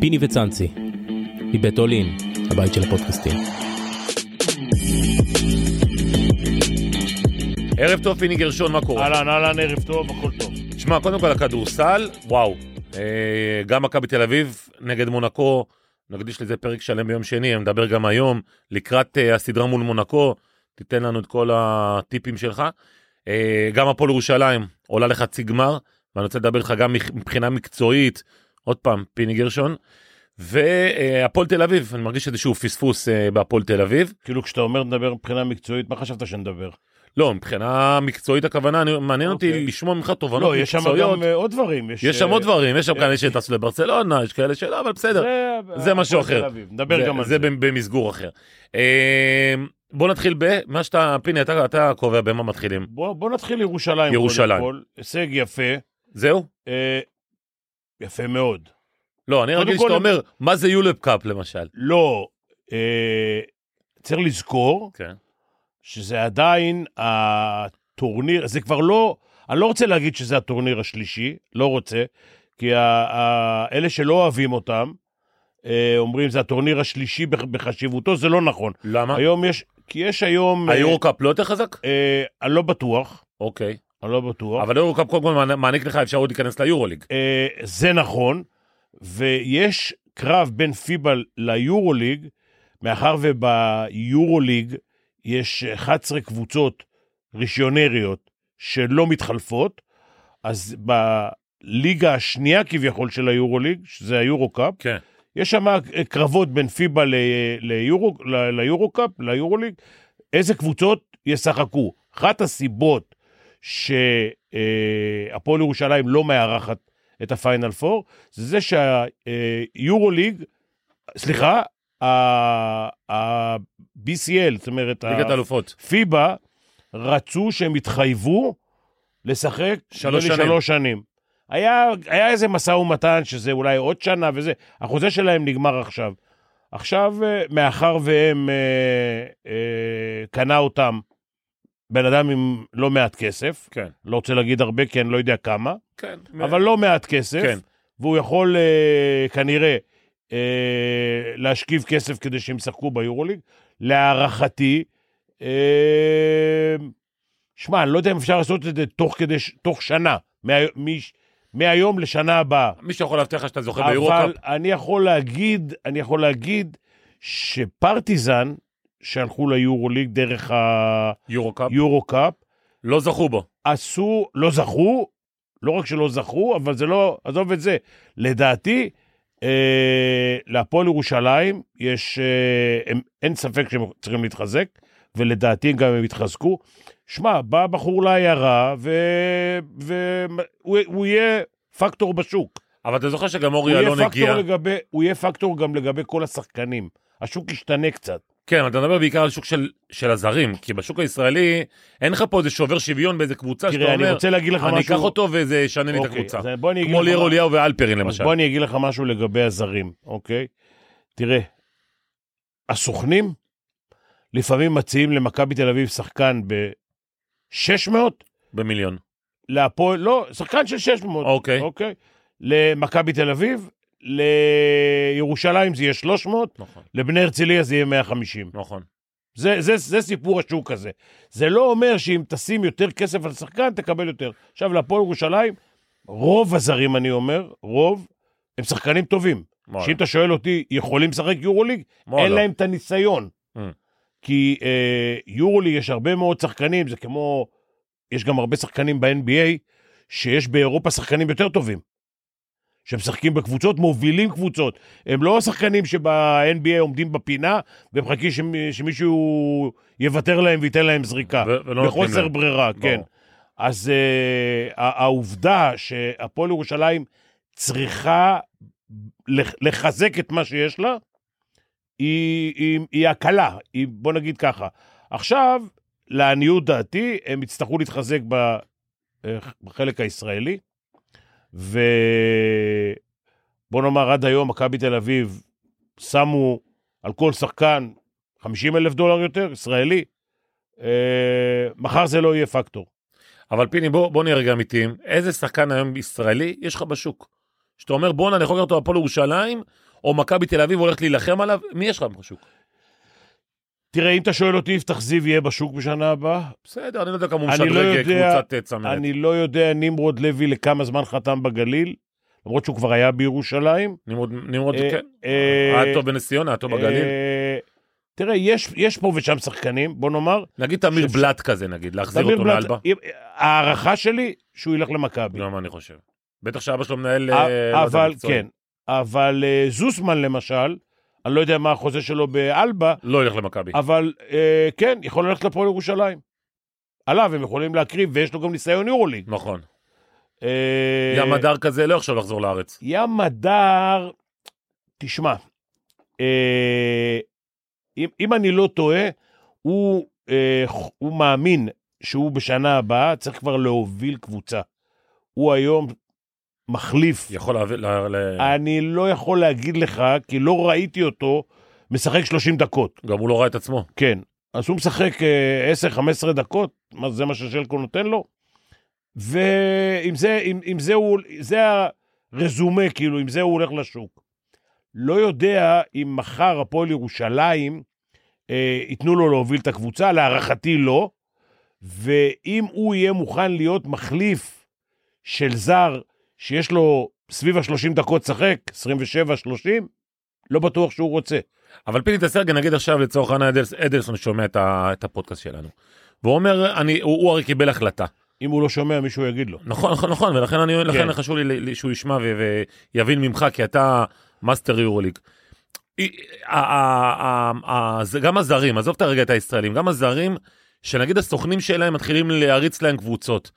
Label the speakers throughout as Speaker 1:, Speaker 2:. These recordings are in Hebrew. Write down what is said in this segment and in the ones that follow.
Speaker 1: פיני וצאנצי, מבית עולים, הבית של הפודקאסטים.
Speaker 2: ערב טוב, פיני גרשון, מה קורה?
Speaker 3: אהלן, אהלן, ערב טוב, הכל טוב.
Speaker 2: תשמע, קודם כל הכדורסל, וואו. אה, גם מכבי תל אביב נגד מונקו, נקדיש לזה פרק שלם ביום שני, נדבר גם היום, לקראת אה, הסדרה מול מונקו, תיתן לנו את כל הטיפים שלך. אה, גם הפועל ירושלים עולה לחצי גמר, ואני רוצה לדבר איתך גם מכ- מבחינה מקצועית, עוד פעם, פיני גרשון. והפועל תל אביב, אני מרגיש איזשהו פספוס אה, בהפועל תל אביב.
Speaker 3: כאילו כשאתה אומר נדבר מבחינה מקצועית, מה חשבת שנדבר?
Speaker 2: לא, מבחינה מקצועית הכוונה, אני- מעניין אותי
Speaker 3: אוקיי.
Speaker 2: לשמוע ממך תובנות
Speaker 3: לא,
Speaker 2: מקצועיות.
Speaker 3: יש שם גם אה, עוד דברים.
Speaker 2: יש שם עוד
Speaker 3: אה,
Speaker 2: דברים, יש שם כאלה שטסו לברצלונה, יש כאלה שלא, אבל בסדר,
Speaker 3: זה-
Speaker 2: זה משהו
Speaker 3: הפועל
Speaker 2: אחר.
Speaker 3: תל אביב, נדבר גם על זה.
Speaker 2: זה במסגור אחר. אה, בוא נתחיל במה שאתה, פיני, אתה אתה קובע במה מתחילים.
Speaker 3: בוא בוא נתחיל ירושלים.
Speaker 2: ירושלים.
Speaker 3: קודם כל. הישג יפה,
Speaker 2: זהו?
Speaker 3: אה, יפה מאוד.
Speaker 2: לא, אני
Speaker 3: קודם
Speaker 2: רגיל
Speaker 3: כל-
Speaker 2: שאתה אומר, מה זה יולפ קאפ למשל?
Speaker 3: לא, אה, צריך לזכור
Speaker 2: כן.
Speaker 3: שזה עדיין הטורניר, זה כבר לא, אני לא רוצה להגיד שזה הטורניר השלישי, לא רוצה, כי ה- ה- אלה שלא אוהבים אותם, אה, אומרים זה הטורניר השלישי בח- בחשיבותו, זה לא נכון.
Speaker 2: למה?
Speaker 3: היום יש, כי יש היום... אה,
Speaker 2: היורו קאפ לא יותר חזק?
Speaker 3: אה, אני לא בטוח,
Speaker 2: אוקיי.
Speaker 3: אני לא בטוח.
Speaker 2: אבל היורו קאפ קודם כל מענ- מעניק לך אפשרות להיכנס ליורו ליג.
Speaker 3: אה, זה נכון, ויש קרב בין פיבה ליורוליג, מאחר וביורוליג יש 11 קבוצות רישיונריות שלא מתחלפות, אז בליגה השנייה כביכול של היורוליג, שזה היורו-קאפ,
Speaker 2: כן.
Speaker 3: יש שם אה, קרבות בין פיבה ל- אה, ליורו- ל- ליורו-קאפ, ליורוליג, איזה קבוצות ישחקו. אחת הסיבות שהפועל ירושלים לא מארחת את הפיינל פור, זה זה שהיורוליג, סליחה, ה-BCL, זאת אומרת,
Speaker 2: ליגת האלופות.
Speaker 3: פיבה, רצו שהם יתחייבו לשחק
Speaker 2: שלוש
Speaker 3: נדמה לי
Speaker 2: שנים.
Speaker 3: שלוש שנים. היה, היה איזה משא ומתן שזה אולי עוד שנה וזה, החוזה שלהם נגמר עכשיו. עכשיו, אה, מאחר והם, אה, אה, קנה אותם בן אדם עם לא מעט כסף,
Speaker 2: כן.
Speaker 3: לא רוצה להגיד הרבה כי אני לא יודע כמה,
Speaker 2: כן.
Speaker 3: אבל לא מעט כסף,
Speaker 2: כן.
Speaker 3: והוא יכול אה, כנראה אה, להשכיב כסף כדי שהם ישחקו ביורוליג. להערכתי, אה, שמע, אני לא יודע אם אפשר לעשות את זה תוך, כדי, ש- תוך שנה, מה, מש, מהיום לשנה הבאה.
Speaker 2: מישהו יכול להבטיח לך שאתה זוכה ביורו
Speaker 3: אבל
Speaker 2: קאפ?
Speaker 3: אני יכול להגיד, אני יכול להגיד שפרטיזן, שהלכו ליורוליג דרך
Speaker 2: יורו קאפ?
Speaker 3: היורו-קאפ,
Speaker 2: לא זכו בו.
Speaker 3: עשו, לא זכו, לא רק שלא זכו, אבל זה לא, עזוב את זה. לדעתי, אה, להפועל ירושלים יש, אה, הם, אין ספק שהם צריכים להתחזק, ולדעתי גם הם התחזקו. שמע, בא בחור לעיירה, והוא יהיה פקטור בשוק.
Speaker 2: אבל אתה זוכר שגם אורי
Speaker 3: הוא יהיה
Speaker 2: אלון הגיע.
Speaker 3: פקטור לגבי, הוא יהיה פקטור גם לגבי כל השחקנים. השוק ישתנה קצת.
Speaker 2: כן, אבל אתה מדבר בעיקר על שוק של, של הזרים, כי בשוק הישראלי אין לך פה איזה שובר שוויון באיזה קבוצה שאתה
Speaker 3: תראה, אני
Speaker 2: אומר,
Speaker 3: רוצה להגיד לך
Speaker 2: אני
Speaker 3: משהו.
Speaker 2: אקח אותו וזה ישנה לי את
Speaker 3: אוקיי,
Speaker 2: הקבוצה.
Speaker 3: אז בוא אני אגיד
Speaker 2: כמו
Speaker 3: לך
Speaker 2: ליאור
Speaker 3: מה-
Speaker 2: אליהו ואלפרין
Speaker 3: אז
Speaker 2: למשל.
Speaker 3: בוא אני אגיד לך משהו לגבי הזרים, אוקיי? תראה, הסוכנים לפעמים מציעים למכבי תל אביב שחקן ב-600,
Speaker 2: במיליון.
Speaker 3: להפועל, לא, שחקן של 600,
Speaker 2: אוקיי.
Speaker 3: אוקיי? למכבי תל אביב, לירושלים זה יהיה 300,
Speaker 2: נכון,
Speaker 3: לבני הרצליה זה יהיה 150.
Speaker 2: נכון.
Speaker 3: זה, זה, זה סיפור השוק הזה. זה לא אומר שאם תשים יותר כסף על שחקן, תקבל יותר. עכשיו, להפועל ירושלים, רוב הזרים, אני אומר, רוב, הם שחקנים טובים.
Speaker 2: וואלה.
Speaker 3: שאם אתה שואל אותי, יכולים לשחק יורוליג?
Speaker 2: וואלה.
Speaker 3: אין להם את הניסיון.
Speaker 2: Mm.
Speaker 3: כי אה, יורוליג יש הרבה מאוד שחקנים, זה כמו, יש גם הרבה שחקנים ב-NBA, שיש באירופה שחקנים יותר טובים. שמשחקים בקבוצות, מובילים קבוצות. הם לא השחקנים שב-NBA עומדים בפינה ומחכים שמ- שמישהו יוותר להם וייתן להם זריקה.
Speaker 2: ו- ולא נותנים
Speaker 3: בחוסר
Speaker 2: להם.
Speaker 3: ברירה,
Speaker 2: ברור.
Speaker 3: כן. אז uh, העובדה שהפועל ירושלים צריכה לח- לחזק את מה שיש לה, היא, היא, היא הקלה, היא, בוא נגיד ככה. עכשיו, לעניות דעתי, הם יצטרכו להתחזק ב, אה, בחלק הישראלי, ובוא נאמר, עד היום מכבי תל אביב שמו על כל שחקן 50 אלף דולר יותר, ישראלי, אה, מחר זה לא יהיה פקטור.
Speaker 2: אבל פיני, בוא, בוא נהיה רגע אמיתיים. איזה שחקן היום ישראלי יש לך בשוק? שאתה אומר, בואנה, אני יכול לקחת אותו הפועל ירושלים, או מכבי תל אביב הולכת להילחם עליו, מי יש לך בשוק?
Speaker 3: תראה, אם אתה שואל אותי, יפתח זיו יהיה בשוק בשנה הבאה,
Speaker 2: בסדר, אני לא יודע כמה הוא
Speaker 3: אני לא
Speaker 2: משדרג אה,
Speaker 3: יודע-
Speaker 2: קבוצת אה, צמרת.
Speaker 3: אני לא יודע נמרוד לוי לכמה זמן חתם בגליל, למרות שהוא כבר היה בירושלים.
Speaker 2: נמרוד, נמרוד,
Speaker 3: אה,
Speaker 2: כן.
Speaker 3: אה,
Speaker 2: היה טוב בנס ציונה, היה טוב בגליל.
Speaker 3: אה, תראה, יש, יש פה ושם שחקנים, בוא נאמר.
Speaker 2: נגיד תמיר
Speaker 3: שפ-
Speaker 2: בלאט כזה, נגיד, להחזיר
Speaker 3: תמיר
Speaker 2: אותו
Speaker 3: בלאט,
Speaker 2: לאלבה.
Speaker 3: אם- ההערכה שלי, שהוא ילך למכבי.
Speaker 2: לא, מה אני חושב. בטח שאבא שלו מנהל...
Speaker 3: א-
Speaker 2: אה, לא יודע,
Speaker 3: אבל,
Speaker 2: מקצועי.
Speaker 3: כן. אבל אה, זוסמן למשל, אני לא יודע מה החוזה שלו באלבה,
Speaker 2: לא ילך למכבי.
Speaker 3: אבל אה, כן, יכול ללכת לפועל ירושלים. עליו הם יכולים להקריב, ויש לו גם ניסיון יורוליג.
Speaker 2: נכון.
Speaker 3: אה,
Speaker 2: גם הדר כזה לא יחשוב לחזור לארץ.
Speaker 3: ים הדר, תשמע, אה, אם, אם אני לא טועה, הוא, אה, ח- הוא מאמין שהוא בשנה הבאה צריך כבר להוביל קבוצה. הוא היום מחליף.
Speaker 2: יכול להביא... ל- ל-
Speaker 3: אני לא יכול להגיד לך, כי לא ראיתי אותו משחק 30 דקות.
Speaker 2: גם הוא לא ראה את עצמו.
Speaker 3: כן. אז הוא משחק אה, 10-15 דקות, מה זה מה ששלקו נותן לו? ועם זה, עם, עם זה הוא, זה הרזומה, כאילו, עם זה הוא הולך לשוק. לא יודע אם מחר הפועל ירושלים אה, ייתנו לו להוביל את הקבוצה, להערכתי לא, ואם הוא יהיה מוכן להיות מחליף של זר שיש לו סביב ה-30 דקות לשחק, 27-30, לא בטוח שהוא רוצה.
Speaker 2: אבל פיני תסרגל, נגיד עכשיו לצורך העניין אדלס- אדלסון שומע את ה- את הפודקאסט שלנו. והוא אומר, אני- הוא הוא הרי קיבל החלטה.
Speaker 3: אם הוא לא שומע, מישהו יגיד לו.
Speaker 2: נכון, נכון, נכון, ולכן אני, כן. לכן
Speaker 3: כן.
Speaker 2: חשוב לי ל- ל- שהוא ישמע ו- ויבין ממך, כי אתה מאסטר יורוליג. אי- ה- ה- ה- ה- זה- גם הזרים, עזוב את הרגע את הישראלים, גם הזרים, שנגיד הסוכנים שלהם מתחילים להריץ להם קבוצות.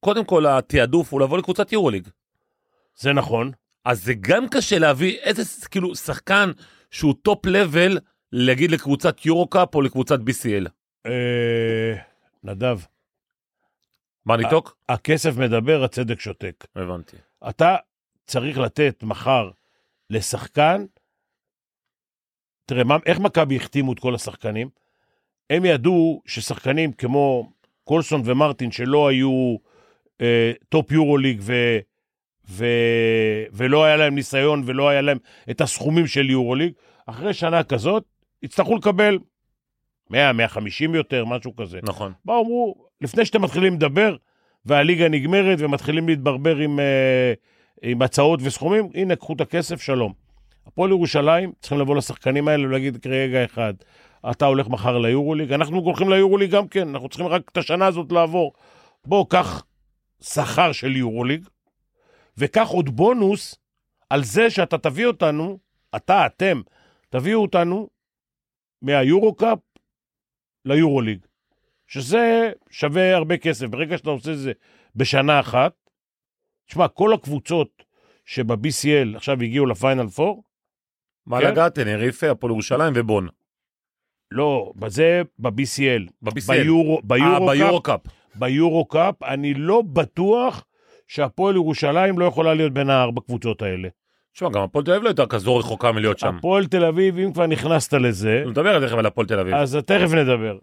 Speaker 2: קודם כל, התעדוף הוא לבוא לקבוצת יורוליג.
Speaker 3: זה נכון.
Speaker 2: אז זה גם קשה להביא איזה, ס- כאילו, שחקן שהוא טופ לבל, להגיד לקבוצת יורו-קאפ או לקבוצת BCL.
Speaker 3: אה, נדב,
Speaker 2: מה, ניתוק?
Speaker 3: הכסף מדבר, הצדק שותק.
Speaker 2: אה, הבנתי.
Speaker 3: אתה צריך לתת מחר לשחקן, תראה, מה, איך מכבי החתימו את כל השחקנים? הם ידעו ששחקנים כמו קולסון ומרטין, שלא היו אה, טופ יורוליג ו, ו, ולא היה להם ניסיון ולא היה להם את הסכומים של יורוליג, אחרי שנה כזאת יצטרכו לקבל 100, 150 יותר, משהו כזה.
Speaker 2: נכון.
Speaker 3: באו אמרו, לפני שאתם מתחילים לדבר, והליגה נגמרת ומתחילים להתברבר עם, אה, עם הצעות וסכומים, הנה, קחו את הכסף, שלום. הפועל ירושלים צריכים לבוא לשחקנים האלה ולהגיד רגע אחד, אתה הולך מחר ליורוליג, אנחנו הולכים ליורוליג גם כן, אנחנו צריכים רק את השנה הזאת לעבור. בוא, קח שכר של יורוליג, וקח עוד בונוס על זה שאתה תביא אותנו, אתה, אתם, תביאו אותנו מהיורו-קאפ ליורוליג. שזה שווה הרבה כסף. ברגע שאתה עושה את זה בשנה אחת, תשמע, כל הקבוצות שב-BCL עכשיו הגיעו לפיינל 4,
Speaker 2: מה
Speaker 3: כן.
Speaker 2: לגעתן, יריפה, הפועל ירושלים ובון.
Speaker 3: לא, בזה ב-BCL.
Speaker 2: ב-BCL.
Speaker 3: ביורו, ביורו,
Speaker 2: אה,
Speaker 3: ביורו,
Speaker 2: ביורו-קאפ.
Speaker 3: ביורו קאפ, אני לא בטוח שהפועל ירושלים לא יכולה להיות בין הארבע קבוצות האלה.
Speaker 2: תשמע, גם הפועל תל אביב לא הייתה כזו רחוקה מלהיות שם.
Speaker 3: הפועל תל אביב, אם כבר נכנסת לזה,
Speaker 2: אנחנו נדבר תכף על הפועל תל אביב.
Speaker 3: אז תכף נדבר.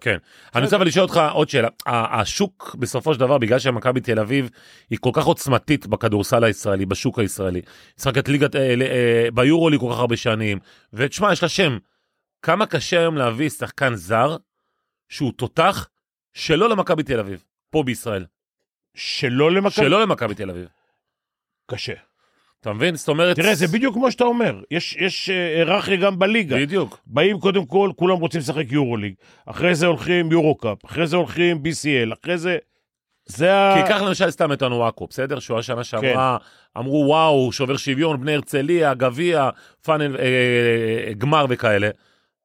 Speaker 2: אני רוצה אבל לשאול אותך עוד שאלה. ה- השוק בסופו של דבר, בגלל שמכבי תל אביב היא כל כך עוצמתית בכדורסל הישראלי, בשוק הישראלי, משחקת ליגת, אה, ל- אה, ביורולי כל כך הרבה שנים, ותשמע, יש לה שם. כמה קשה היום להביא שחקן זר שהוא תותח שלא למכבי תל אביב, פה בישראל.
Speaker 3: שלא למכבי,
Speaker 2: שלא למכבי תל אביב.
Speaker 3: קשה.
Speaker 2: אתה מבין? זאת אומרת...
Speaker 3: תראה, זה בדיוק כמו שאתה אומר, יש- יש אה, היררכיה גם בליגה.
Speaker 2: בדיוק.
Speaker 3: באים קודם כל, כולם רוצים לשחק יורוליג, אחרי זה הולכים יורוקאפ, אחרי זה הולכים BCL, אחרי זה... זה ה...
Speaker 2: כי קח למשל סתם את אנואקו, בסדר? שהוא השנה שעברה,
Speaker 3: כן.
Speaker 2: אמרו וואו, שובר שוויון, בני הרצליה, גביע, פאנל, אה, אה, אה, גמר וכאלה.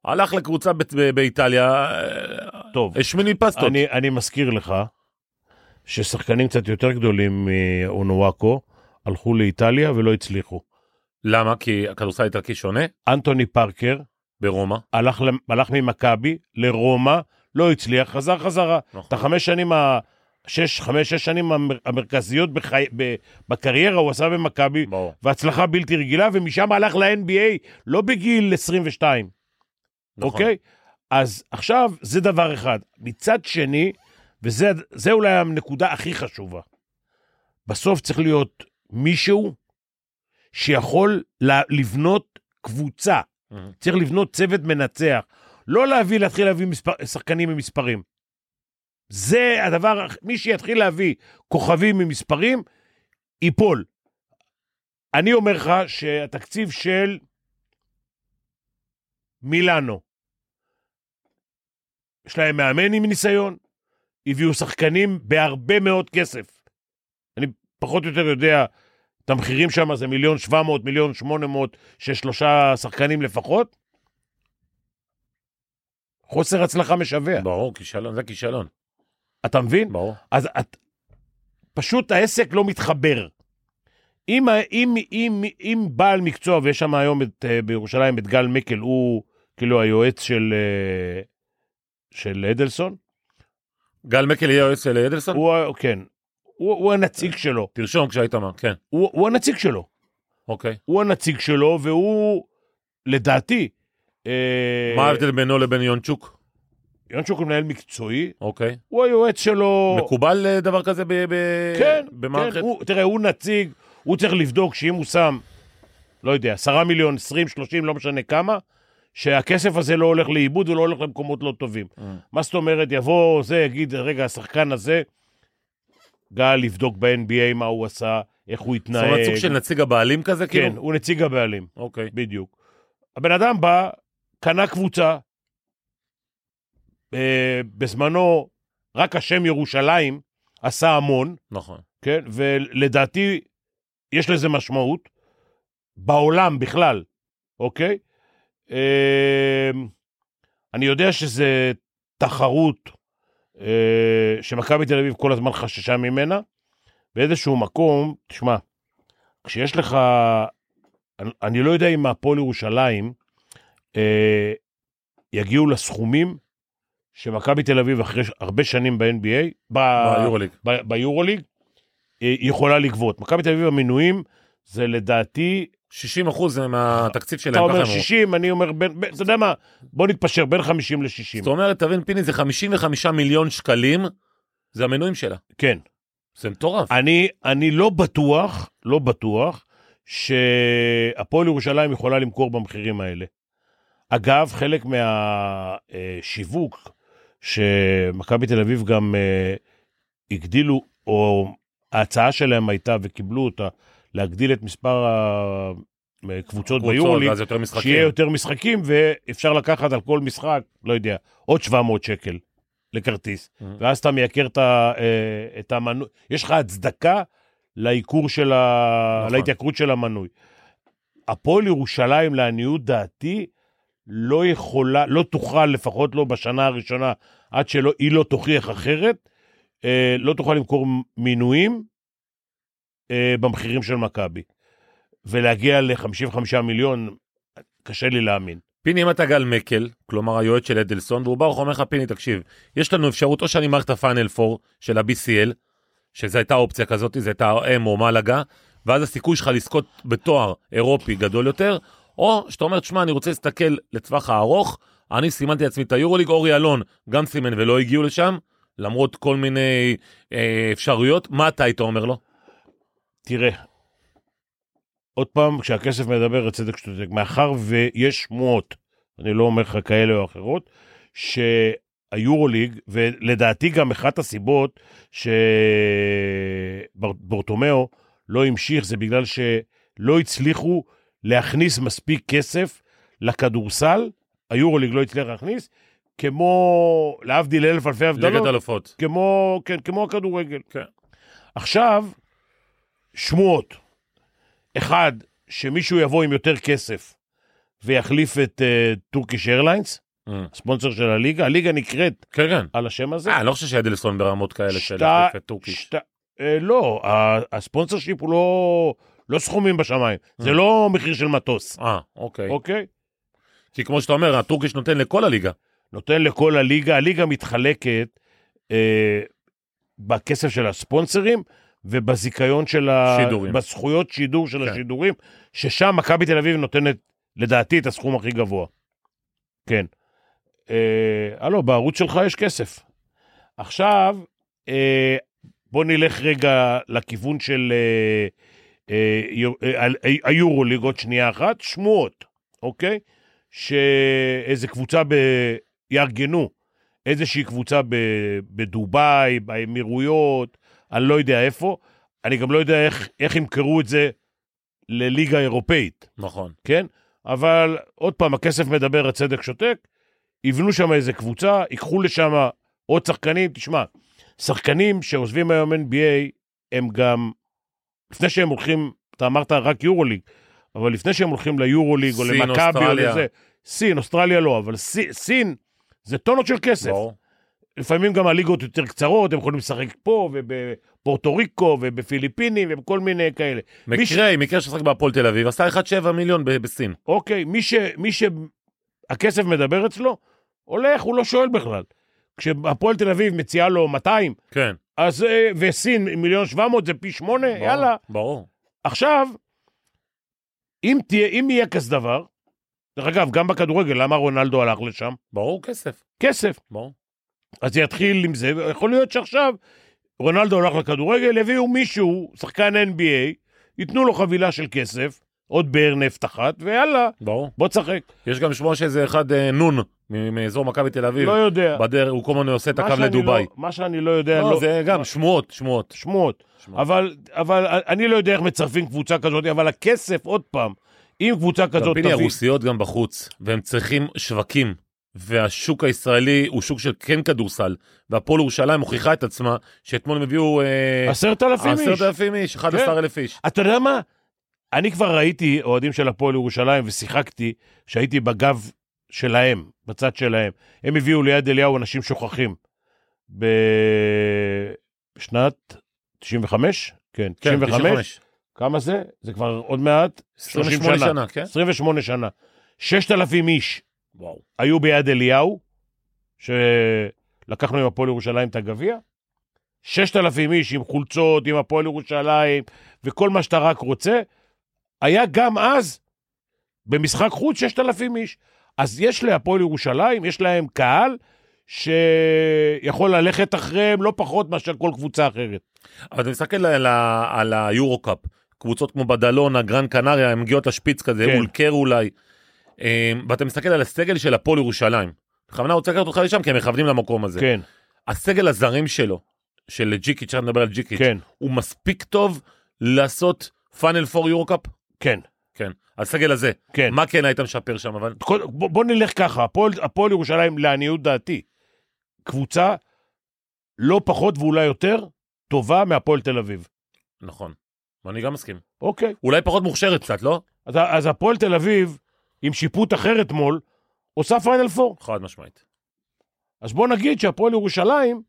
Speaker 2: הלך לקבוצה ב- ב- באיטליה, אה,
Speaker 3: טוב,
Speaker 2: השמיני פסטות.
Speaker 3: אני, אני מזכיר לך ששחקנים קצת יותר גדולים מאונואקו הלכו לאיטליה ולא הצליחו.
Speaker 2: למה? כי הכדורסל האיטלקי שונה
Speaker 3: אנטוני פארקר
Speaker 2: ברומא.
Speaker 3: הלך, למ- הלך ממכבי לרומא, לא הצליח, חזר חזרה.
Speaker 2: נכון,
Speaker 3: את החמש שנים, ה... שש, חמש, שש שנים המר- המרכזיות בחי... ב... בקריירה הוא עשה במכבי,
Speaker 2: ברור.
Speaker 3: והצלחה בלתי רגילה, ומשם הלך ל-NBA, לא בגיל 22,
Speaker 2: נכון.
Speaker 3: אוקיי? אז עכשיו, זה דבר אחד. מצד שני, וזה זה אולי הנקודה הכי חשובה, בסוף צריך להיות מישהו שיכול ל- לבנות קבוצה. צריך לבנות צוות מנצח. לא להביא, להתחיל להביא מספר, שחקנים עם מספרים. זה הדבר, מי שיתחיל להביא כוכבים עם מספרים, ייפול. אני אומר לך שהתקציב של מילאנו, יש להם מאמן עם ניסיון, הביאו שחקנים בהרבה מאוד כסף. אני פחות או יותר יודע את המחירים שם, זה מיליון שבע מאות, מיליון שמונה מאות, שיש שלושה שחקנים לפחות. חוסר הצלחה משווע.
Speaker 2: ברור, כישלון, זה כישלון.
Speaker 3: Mm. אתה מבין?
Speaker 2: ברור.
Speaker 3: אז את... פשוט העסק לא מתחבר. אם, ה- אם, אם, אם בעל מקצוע, ויש שם היום את, אה, בירושלים את גל מקל, הוא כאילו היועץ של, אה, של אדלסון,
Speaker 2: גל מקל יהיה יועץ של אדלסון?
Speaker 3: הוא, ה- כן, הוא, הוא הנציג שלו,
Speaker 2: תרשום כשהיית מה, כן,
Speaker 3: הוא, הוא הנציג שלו,
Speaker 2: אוקיי.
Speaker 3: הוא הנציג שלו, והוא, לדעתי, אה,
Speaker 2: מה ההבדל בינו לבין יונצ'וק?
Speaker 3: יונצ'וק הוא מנהל מקצועי,
Speaker 2: אוקיי.
Speaker 3: הוא היועץ שלו,
Speaker 2: מקובל אה, דבר כזה ב- ב-
Speaker 3: כן,
Speaker 2: במערכת?
Speaker 3: כן, הוא, תראה, הוא נציג, הוא צריך לבדוק שאם הוא שם, לא יודע, 10 מיליון, 20, 30, לא משנה כמה, שהכסף הזה לא הולך לאיבוד ולא הולך למקומות לא טובים.
Speaker 2: אה.
Speaker 3: מה זאת אומרת, יבוא זה, יגיד, רגע, השחקן הזה, גל יבדוק ב-NBA מה הוא עשה, איך הוא
Speaker 2: זאת אומרת,
Speaker 3: התנהג.
Speaker 2: סוג של נציג הבעלים כזה, כאילו?
Speaker 3: אה, כן, הוא נציג הבעלים,
Speaker 2: אוקיי.
Speaker 3: בדיוק. הבן אדם בא, קנה קבוצה, אה, בזמנו, רק השם ירושלים עשה המון,
Speaker 2: נכון.
Speaker 3: כן? ולדעתי, יש לזה משמעות, בעולם בכלל, אוקיי? אמ, אני יודע שזה תחרות אה, שמכבי תל אביב כל הזמן חששה ממנה. באיזשהו מקום, תשמע, כשיש לך, אני, אני לא יודע אם הפועל ירושלים אה, יגיעו לסכומים שמכבי תל אביב אחרי ש- הרבה שנים ב-NBA, ב-
Speaker 2: ביורוליג.
Speaker 3: ב- ביורוליג, אה, יכולה לגבות. מכבי תל אביב המינויים זה לדעתי,
Speaker 2: 60 אחוז מהתקציב שלהם,
Speaker 3: אתה
Speaker 2: ככה
Speaker 3: אומר
Speaker 2: הם אמרו.
Speaker 3: 60, אני אומר, בין, בין- אתה יודע מה, בוא נתפשר בין 50 ל-60.
Speaker 2: זאת אומרת, תבין, פיני, זה 55 מיליון שקלים, זה המנויים שלה.
Speaker 3: כן.
Speaker 2: זה מטורף.
Speaker 3: אני, אני לא בטוח, לא בטוח, שהפועל ירושלים יכולה למכור במחירים האלה. אגב, חלק מהשיווק שמכבי תל אביב גם אה, הגדילו, או ההצעה שלהם הייתה וקיבלו אותה, להגדיל את מספר הקבוצות
Speaker 2: קבוצות,
Speaker 3: ביורוליג,
Speaker 2: ואז יותר משחקים.
Speaker 3: שיהיה יותר משחקים, ואפשר לקחת על כל משחק, לא יודע, עוד 700 שקל לכרטיס.
Speaker 2: אה.
Speaker 3: ואז אתה מייקר את, ה- אה, את המנוי, יש לך הצדקה לעיקור של ה...
Speaker 2: נכון.
Speaker 3: להתייקרות של המנוי. הפועל ירושלים, לעניות דעתי, לא יכולה, לא תוכל, לפחות לא בשנה הראשונה, עד שהיא לא תוכיח אחרת, אה, לא תוכל למכור מינויים אה, במחירים של מכבי. ולהגיע ל-55 מיליון, קשה לי להאמין.
Speaker 2: פיני, אם אתה גל מקל, כלומר היועץ של אדלסון, והוא בא ואומר לך, פיני, תקשיב, יש לנו אפשרות או שאני מערכת הפאנל 4 של ה-BCL, שזו הייתה אופציה כזאת, זו הייתה אם או מלאגה, ואז הסיכוי שלך לזכות בתואר אירופי גדול יותר, או שאתה אומר, תשמע, אני רוצה להסתכל לטווח הארוך, אני סימנתי לעצמי את היורוליג, אורי אלון גם סימן ולא הגיעו לשם, למרות כל מיני אה, אפשרויות, מה אתה היית אומר לו?
Speaker 3: תראה, עוד פעם, כשהכסף מדבר, הצדק שותק. מאחר ויש שמועות, אני לא אומר לך כאלה או אחרות, שהיורוליג, ולדעתי גם אחת הסיבות שברטומיאו לא המשיך, זה בגלל שלא הצליחו להכניס מספיק כסף לכדורסל, היורוליג לא הצליח להכניס, כמו, להבדיל אלף אלפי הבדלות,
Speaker 2: ליגת אלופות.
Speaker 3: כמו, כן, כמו הכדורגל.
Speaker 2: כן.
Speaker 3: עכשיו, שמועות. אחד, שמישהו יבוא עם יותר כסף ויחליף את טורקיש איירליינס,
Speaker 2: אה.
Speaker 3: הספונסר של הליגה, הליגה נקראת
Speaker 2: כן, כן.
Speaker 3: על השם הזה.
Speaker 2: אה, אני לא חושב שאדלסון ברמות כאלה
Speaker 3: שת-
Speaker 2: של החליף את טורקי.
Speaker 3: שת- אה, לא, ה- הספונסר שיפ הוא לא, לא סכומים בשמיים, זה
Speaker 2: אה.
Speaker 3: לא מחיר של מטוס,
Speaker 2: אה, אוקיי.
Speaker 3: אוקיי?
Speaker 2: כי כמו שאתה אומר, הטורקיש נותן לכל הליגה.
Speaker 3: נותן לכל הליגה, הליגה מתחלקת אה, בכסף של הספונסרים ובזיכיון של ה...
Speaker 2: שידורים.
Speaker 3: בזכויות שידור של
Speaker 2: כן.
Speaker 3: כן. השידורים, ששם מכבי תל אביב נותנת, לדעתי, את הסכום הכי גבוה. כן. אה, הלו, בערוץ שלך יש כסף. עכשיו, אה, בוא נלך רגע לכיוון אה, של אה, אה, יו- אה, ה- היורוליג עוד שנייה אחת, שמועות. אוקיי? שאיזה קבוצה ב... יארגנו איזושהי קבוצה ב... בדובאי, באמירויות, אני לא יודע איפה. אני גם לא יודע איך, איך ימכרו את זה לליגה אירופאית,
Speaker 2: נכון.
Speaker 3: כן? אבל עוד פעם, הכסף מדבר, הצדק שותק. יבנו שם איזה קבוצה, ייקחו לשם עוד שחקנים. תשמע, שחקנים שעוזבים היום NBA, הם גם... לפני שהם הולכים, אתה אמרת רק יורוליג, אבל לפני שהם הולכים ליורוליג או
Speaker 2: סין,
Speaker 3: למכבי או
Speaker 2: אוסטרליה.
Speaker 3: לזה, סין, אוסטרליה לא, אבל סין, סין זה טונות של כסף.
Speaker 2: ברור.
Speaker 3: לפעמים גם הליגות יותר קצרות, הם יכולים לשחק פה ובפורטו ריקו ובפיליפינים ובכל מיני כאלה. מי ש-
Speaker 2: מקרה, מקרה ששחק בהפועל תל אביב, עשה 1.7 מיליון ב- בסין.
Speaker 3: אוקיי, מי, ש, מי שהכסף מדבר אצלו, הולך, הוא לא שואל בכלל. כשהפועל תל אביב מציעה לו 200,
Speaker 2: כן.
Speaker 3: אז, אה, וסין מיליון 700 זה פי 8,
Speaker 2: ברור,
Speaker 3: יאללה.
Speaker 2: ברור.
Speaker 3: עכשיו, אם, תהיה, אם יהיה כזה דבר, דרך אגב, גם בכדורגל, למה רונלדו הלך לשם?
Speaker 2: ברור כסף.
Speaker 3: כסף.
Speaker 2: ברור.
Speaker 3: אז יתחיל עם זה, יכול להיות שעכשיו רונלדו הלך לכדורגל, הביאו מישהו, שחקן NBA, ייתנו לו חבילה של כסף, עוד באר נפט אחת, ויאללה,
Speaker 2: ברור.
Speaker 3: בוא תשחק.
Speaker 2: יש גם שמוע שאיזה אחד אה, נון מ- מאזור מכבי תל אביב.
Speaker 3: לא יודע.
Speaker 2: בדרך, הוא כל הזמן עושה את
Speaker 3: מה
Speaker 2: הקו
Speaker 3: שאני
Speaker 2: לדובאי.
Speaker 3: לא- מה שאני לא יודע,
Speaker 2: לא,
Speaker 3: לא,
Speaker 2: זה גם שמועות, שמועות.
Speaker 3: שמועות.
Speaker 2: שמועות.
Speaker 3: אבל, אבל אני לא יודע איך מצרפים קבוצה כזאת, אבל הכסף, עוד פעם, אם קבוצה כזאת
Speaker 2: פיני הרוסיות גם בחוץ, והם צריכים שווקים, והשוק הישראלי הוא שוק של כן כדורסל, והפועל ירושלים מוכיחה את עצמה, שאתמול הם הביאו אה,
Speaker 3: עשרת אלפים איש. כן.
Speaker 2: 10,000 איש, 11,000 איש.
Speaker 3: אתה יודע מה? אני כבר ראיתי אוהדים של הפועל ירושלים ושיחקתי שהייתי בגב שלהם, בצד שלהם. הם הביאו ליד אליהו אנשים שוכחים. בשנת 95? כן,
Speaker 2: כן,
Speaker 3: 95. כמה זה? זה כבר עוד מעט?
Speaker 2: 28
Speaker 3: שנה.
Speaker 2: שנה, כן?
Speaker 3: 28 שנה. 6,000 איש
Speaker 2: וואו.
Speaker 3: היו ביד אליהו, שלקחנו עם הפועל ירושלים את הגביע. 6,000 איש עם חולצות, עם הפועל ירושלים, וכל מה שאתה רק רוצה. היה גם אז, במשחק חוץ, 6,000 איש. אז יש להפועל ירושלים, יש להם קהל שיכול ללכת אחריהם לא פחות מאשר כל קבוצה אחרת.
Speaker 2: אבל אתה מסתכל על ה- על היורו-קאפ, קבוצות כמו בדלונה, גרן קנריה, הן מגיעות לשפיץ כזה,
Speaker 3: כן.
Speaker 2: אולקר אולי, אה, ואתה מסתכל על הסגל של הפועל ירושלים. בכוונה רוצה לקחת אותך לשם, כי הם מכוונים למקום הזה.
Speaker 3: כן,
Speaker 2: הסגל הזרים שלו, של ג'יקיץ', עכשיו נדבר על ג'יקיץ',
Speaker 3: כן,
Speaker 2: הוא מספיק טוב לעשות פאנל פור יורו-קאפ?
Speaker 3: כן,
Speaker 2: כן. הסגל הזה,
Speaker 3: כן.
Speaker 2: מה כן היית משפר שם, אבל?
Speaker 3: כל- בוא, בוא נלך ככה, הפועל, הפועל ירושלים, לעניות דעתי, קבוצה לא פחות ואולי יותר טובה מהפועל תל אביב.
Speaker 2: נכון. אני גם מסכים.
Speaker 3: אוקיי.
Speaker 2: אולי פחות מוכשרת קצת, לא?
Speaker 3: אז, ה- אז הפועל תל אביב, עם שיפוט אחר אתמול, עושה פיינל פור.
Speaker 2: חד משמעית.
Speaker 3: אז בוא נגיד שהפועל ירושלים,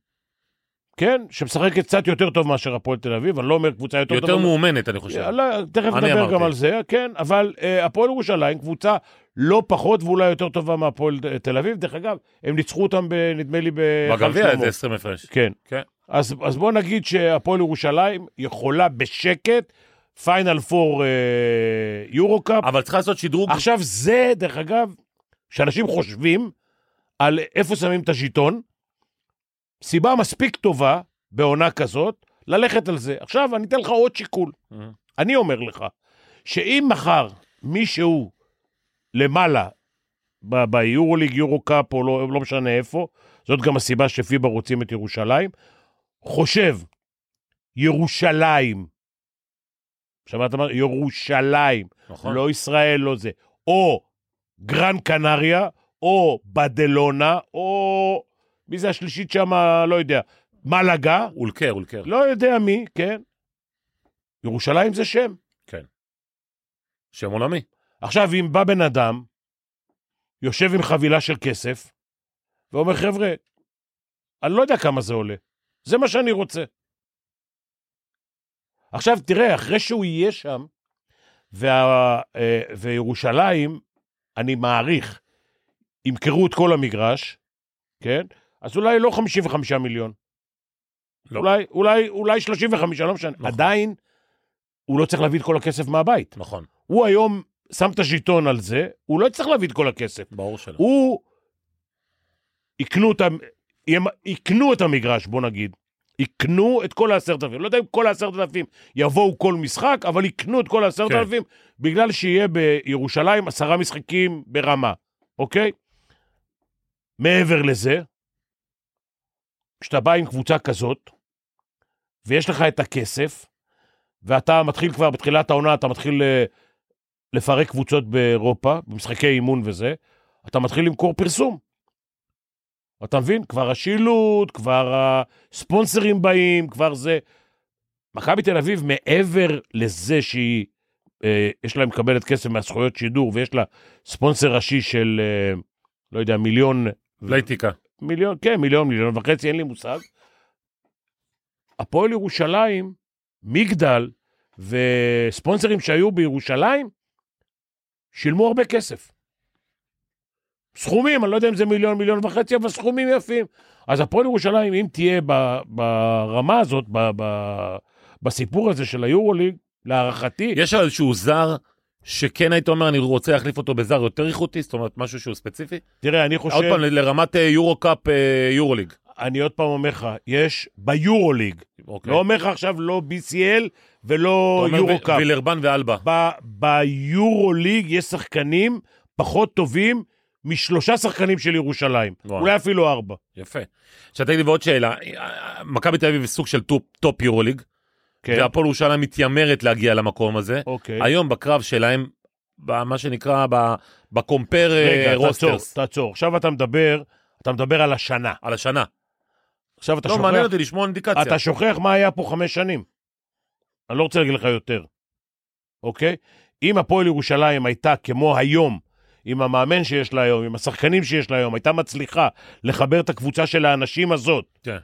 Speaker 3: כן, שמשחקת קצת יותר טוב מאשר הפועל תל אביב, אני לא אומר קבוצה יותר,
Speaker 2: יותר
Speaker 3: טובה.
Speaker 2: מאומנת, אני חושב.
Speaker 3: יאללה, תכף
Speaker 2: אני
Speaker 3: נדבר גם
Speaker 2: אמרתי.
Speaker 3: על זה, כן, אבל אה, הפועל ירושלים, קבוצה לא פחות ואולי יותר טובה מהפועל אה, תל אביב. דרך אגב, הם ניצחו אותם, ב, נדמה לי, ב...
Speaker 2: בגביע
Speaker 3: חלוצי
Speaker 2: זה
Speaker 3: המור.
Speaker 2: 20 הפרש.
Speaker 3: כן.
Speaker 2: כן.
Speaker 3: אז, אז בוא נגיד שהפועל ירושלים יכולה בשקט, פיינל פור אה, יורו קאפ.
Speaker 2: אבל צריך לעשות שדרוג.
Speaker 3: עכשיו זה, דרך אגב, שאנשים חושבים על איפה שמים את הז'יטון, סיבה מספיק טובה בעונה כזאת ללכת על זה. עכשיו אני אתן לך עוד שיקול.
Speaker 2: אה,
Speaker 3: אני אומר לך, שאם מחר מישהו למעלה, ב- ביורוליג, יורו קאפ או לא, לא משנה איפה, זאת גם הסיבה שפיבה רוצים את ירושלים, חושב, ירושלים, שמעת מה? ירושלים,
Speaker 2: נכון.
Speaker 3: לא ישראל, לא זה, או גרן קנריה, או בדלונה, או מי זה השלישית שם, לא יודע, מלגה,
Speaker 2: אולקר, אולקר.
Speaker 3: לא יודע מי, כן. ירושלים זה שם.
Speaker 2: שם עולמי.
Speaker 3: עכשיו, אם בא בן אדם, יושב עם חבילה של כסף, ואומר, חבר'ה, אני לא יודע כמה זה עולה, זה מה שאני רוצה. עכשיו, תראה, אחרי שהוא יהיה שם, וה, אה, וירושלים, אני מעריך, ימכרו את כל המגרש, כן? אז אולי לא 55 מיליון.
Speaker 2: לא.
Speaker 3: לא. אולי, אולי, אולי 35, לא משנה.
Speaker 2: נכון.
Speaker 3: נכון. עדיין, הוא לא צריך להביא את כל הכסף מהבית.
Speaker 2: נכון.
Speaker 3: הוא היום שם את הז'יטון על זה, הוא לא יצטרך להביא את כל הכסף.
Speaker 2: ברור שלא.
Speaker 3: הוא... יקנו את, ה... יקנו את המגרש, בוא נגיד. יקנו את כל העשרת אלפים. לא יודע אם כל העשרת אלפים יבואו כל משחק, אבל יקנו את כל העשרת
Speaker 2: כן.
Speaker 3: אלפים, בגלל שיהיה בירושלים עשרה משחקים ברמה, אוקיי? מעבר לזה, כשאתה בא עם קבוצה כזאת, ויש לך את הכסף, ואתה מתחיל כבר בתחילת העונה, אתה מתחיל אה, לפרק קבוצות באירופה, במשחקי אימון וזה, אתה מתחיל למכור פרסום. אתה מבין? כבר השילוט, כבר הספונסרים באים, כבר זה. מכבי תל אביב, מעבר לזה שהיא, אה, יש לה מקבלת כסף מהזכויות שידור, ויש לה ספונסר ראשי של, אה, לא יודע, מיליון
Speaker 2: לייטיקה.
Speaker 3: מיליון, כן, מיליון, מיליון וחצי, אין לי מושג. הפועל ירושלים, מגדל וספונסרים שהיו בירושלים, שילמו הרבה כסף. סכומים, אני לא יודע אם זה מיליון, מיליון וחצי, אבל סכומים יפים. אז הפועל ירושלים, אם תהיה ב- ברמה הזאת, ב- ב- בסיפור הזה של היורוליג, להערכתי,
Speaker 2: יש שם איזשהו זר שכן היית אומר, אני רוצה להחליף אותו בזר יותר איכותי, זאת אומרת, משהו שהוא ספציפי?
Speaker 3: תראה, אני
Speaker 2: עוד
Speaker 3: חושב,
Speaker 2: פעם, לרמת אה, יורו קאפ, אה, יורו ליג.
Speaker 3: אני עוד פעם אומר לך, יש ביורוליג,
Speaker 2: אוקיי.
Speaker 3: לא אומר לך עכשיו לא BCL ולא
Speaker 2: אתה אומר
Speaker 3: יורו קאפ.
Speaker 2: ו- וילרבן ואלבה.
Speaker 3: ב- ביורו ליג יש שחקנים פחות טובים משלושה שחקנים של ירושלים.
Speaker 2: וואי.
Speaker 3: אולי אפילו ארבע.
Speaker 2: יפה. עכשיו תגיד לי ועוד שאלה, מכבי תל אביב היא סוג של טופ, טופ יורוליג,
Speaker 3: כן.
Speaker 2: והפועל ירושלים מתיימרת להגיע למקום הזה.
Speaker 3: אוקיי.
Speaker 2: היום בקרב שלהם, במה שנקרא, ב- בקומפר אה,
Speaker 3: רגע, תעצור,
Speaker 2: רוסטרס,
Speaker 3: תעצור. עכשיו אתה מדבר, אתה מדבר על השנה.
Speaker 2: על השנה.
Speaker 3: עכשיו אתה
Speaker 2: לא, מעניין
Speaker 3: שוכח,
Speaker 2: אותי לשמוע אינדיקציה.
Speaker 3: אתה שוכח מה היה פה חמש שנים. אני לא רוצה להגיד לך יותר, אוקיי? אם הפועל ירושלים הייתה כמו היום, עם המאמן שיש לה היום, עם השחקנים שיש לה היום, הייתה מצליחה לחבר את הקבוצה של האנשים הזאת,
Speaker 2: כן.
Speaker 3: היא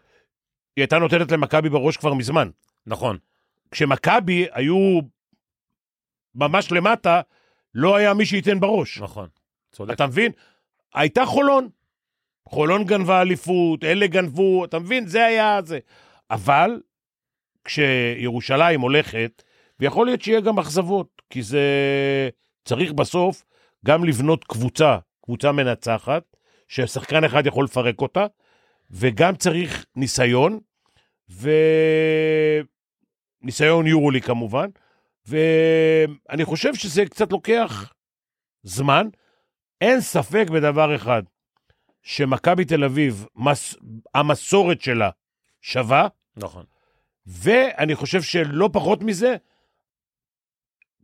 Speaker 3: הייתה נותנת למכבי בראש כבר מזמן.
Speaker 2: נכון.
Speaker 3: כשמכבי היו ממש למטה, לא היה מי שייתן בראש.
Speaker 2: נכון, צודק.
Speaker 3: אתה מבין? הייתה חולון. חולון גנבה אליפות, אלה גנבו, אתה מבין? זה היה זה. אבל כשירושלים הולכת, ויכול להיות שיהיה גם אכזבות, כי זה... צריך בסוף גם לבנות קבוצה, קבוצה מנצחת, ששחקן אחד יכול לפרק אותה, וגם צריך ניסיון, וניסיון יורולי כמובן, ואני חושב שזה קצת לוקח זמן. אין ספק בדבר אחד, שמכבי תל אביב, מס... המסורת שלה שווה,
Speaker 2: נכון.
Speaker 3: ואני חושב שלא פחות מזה,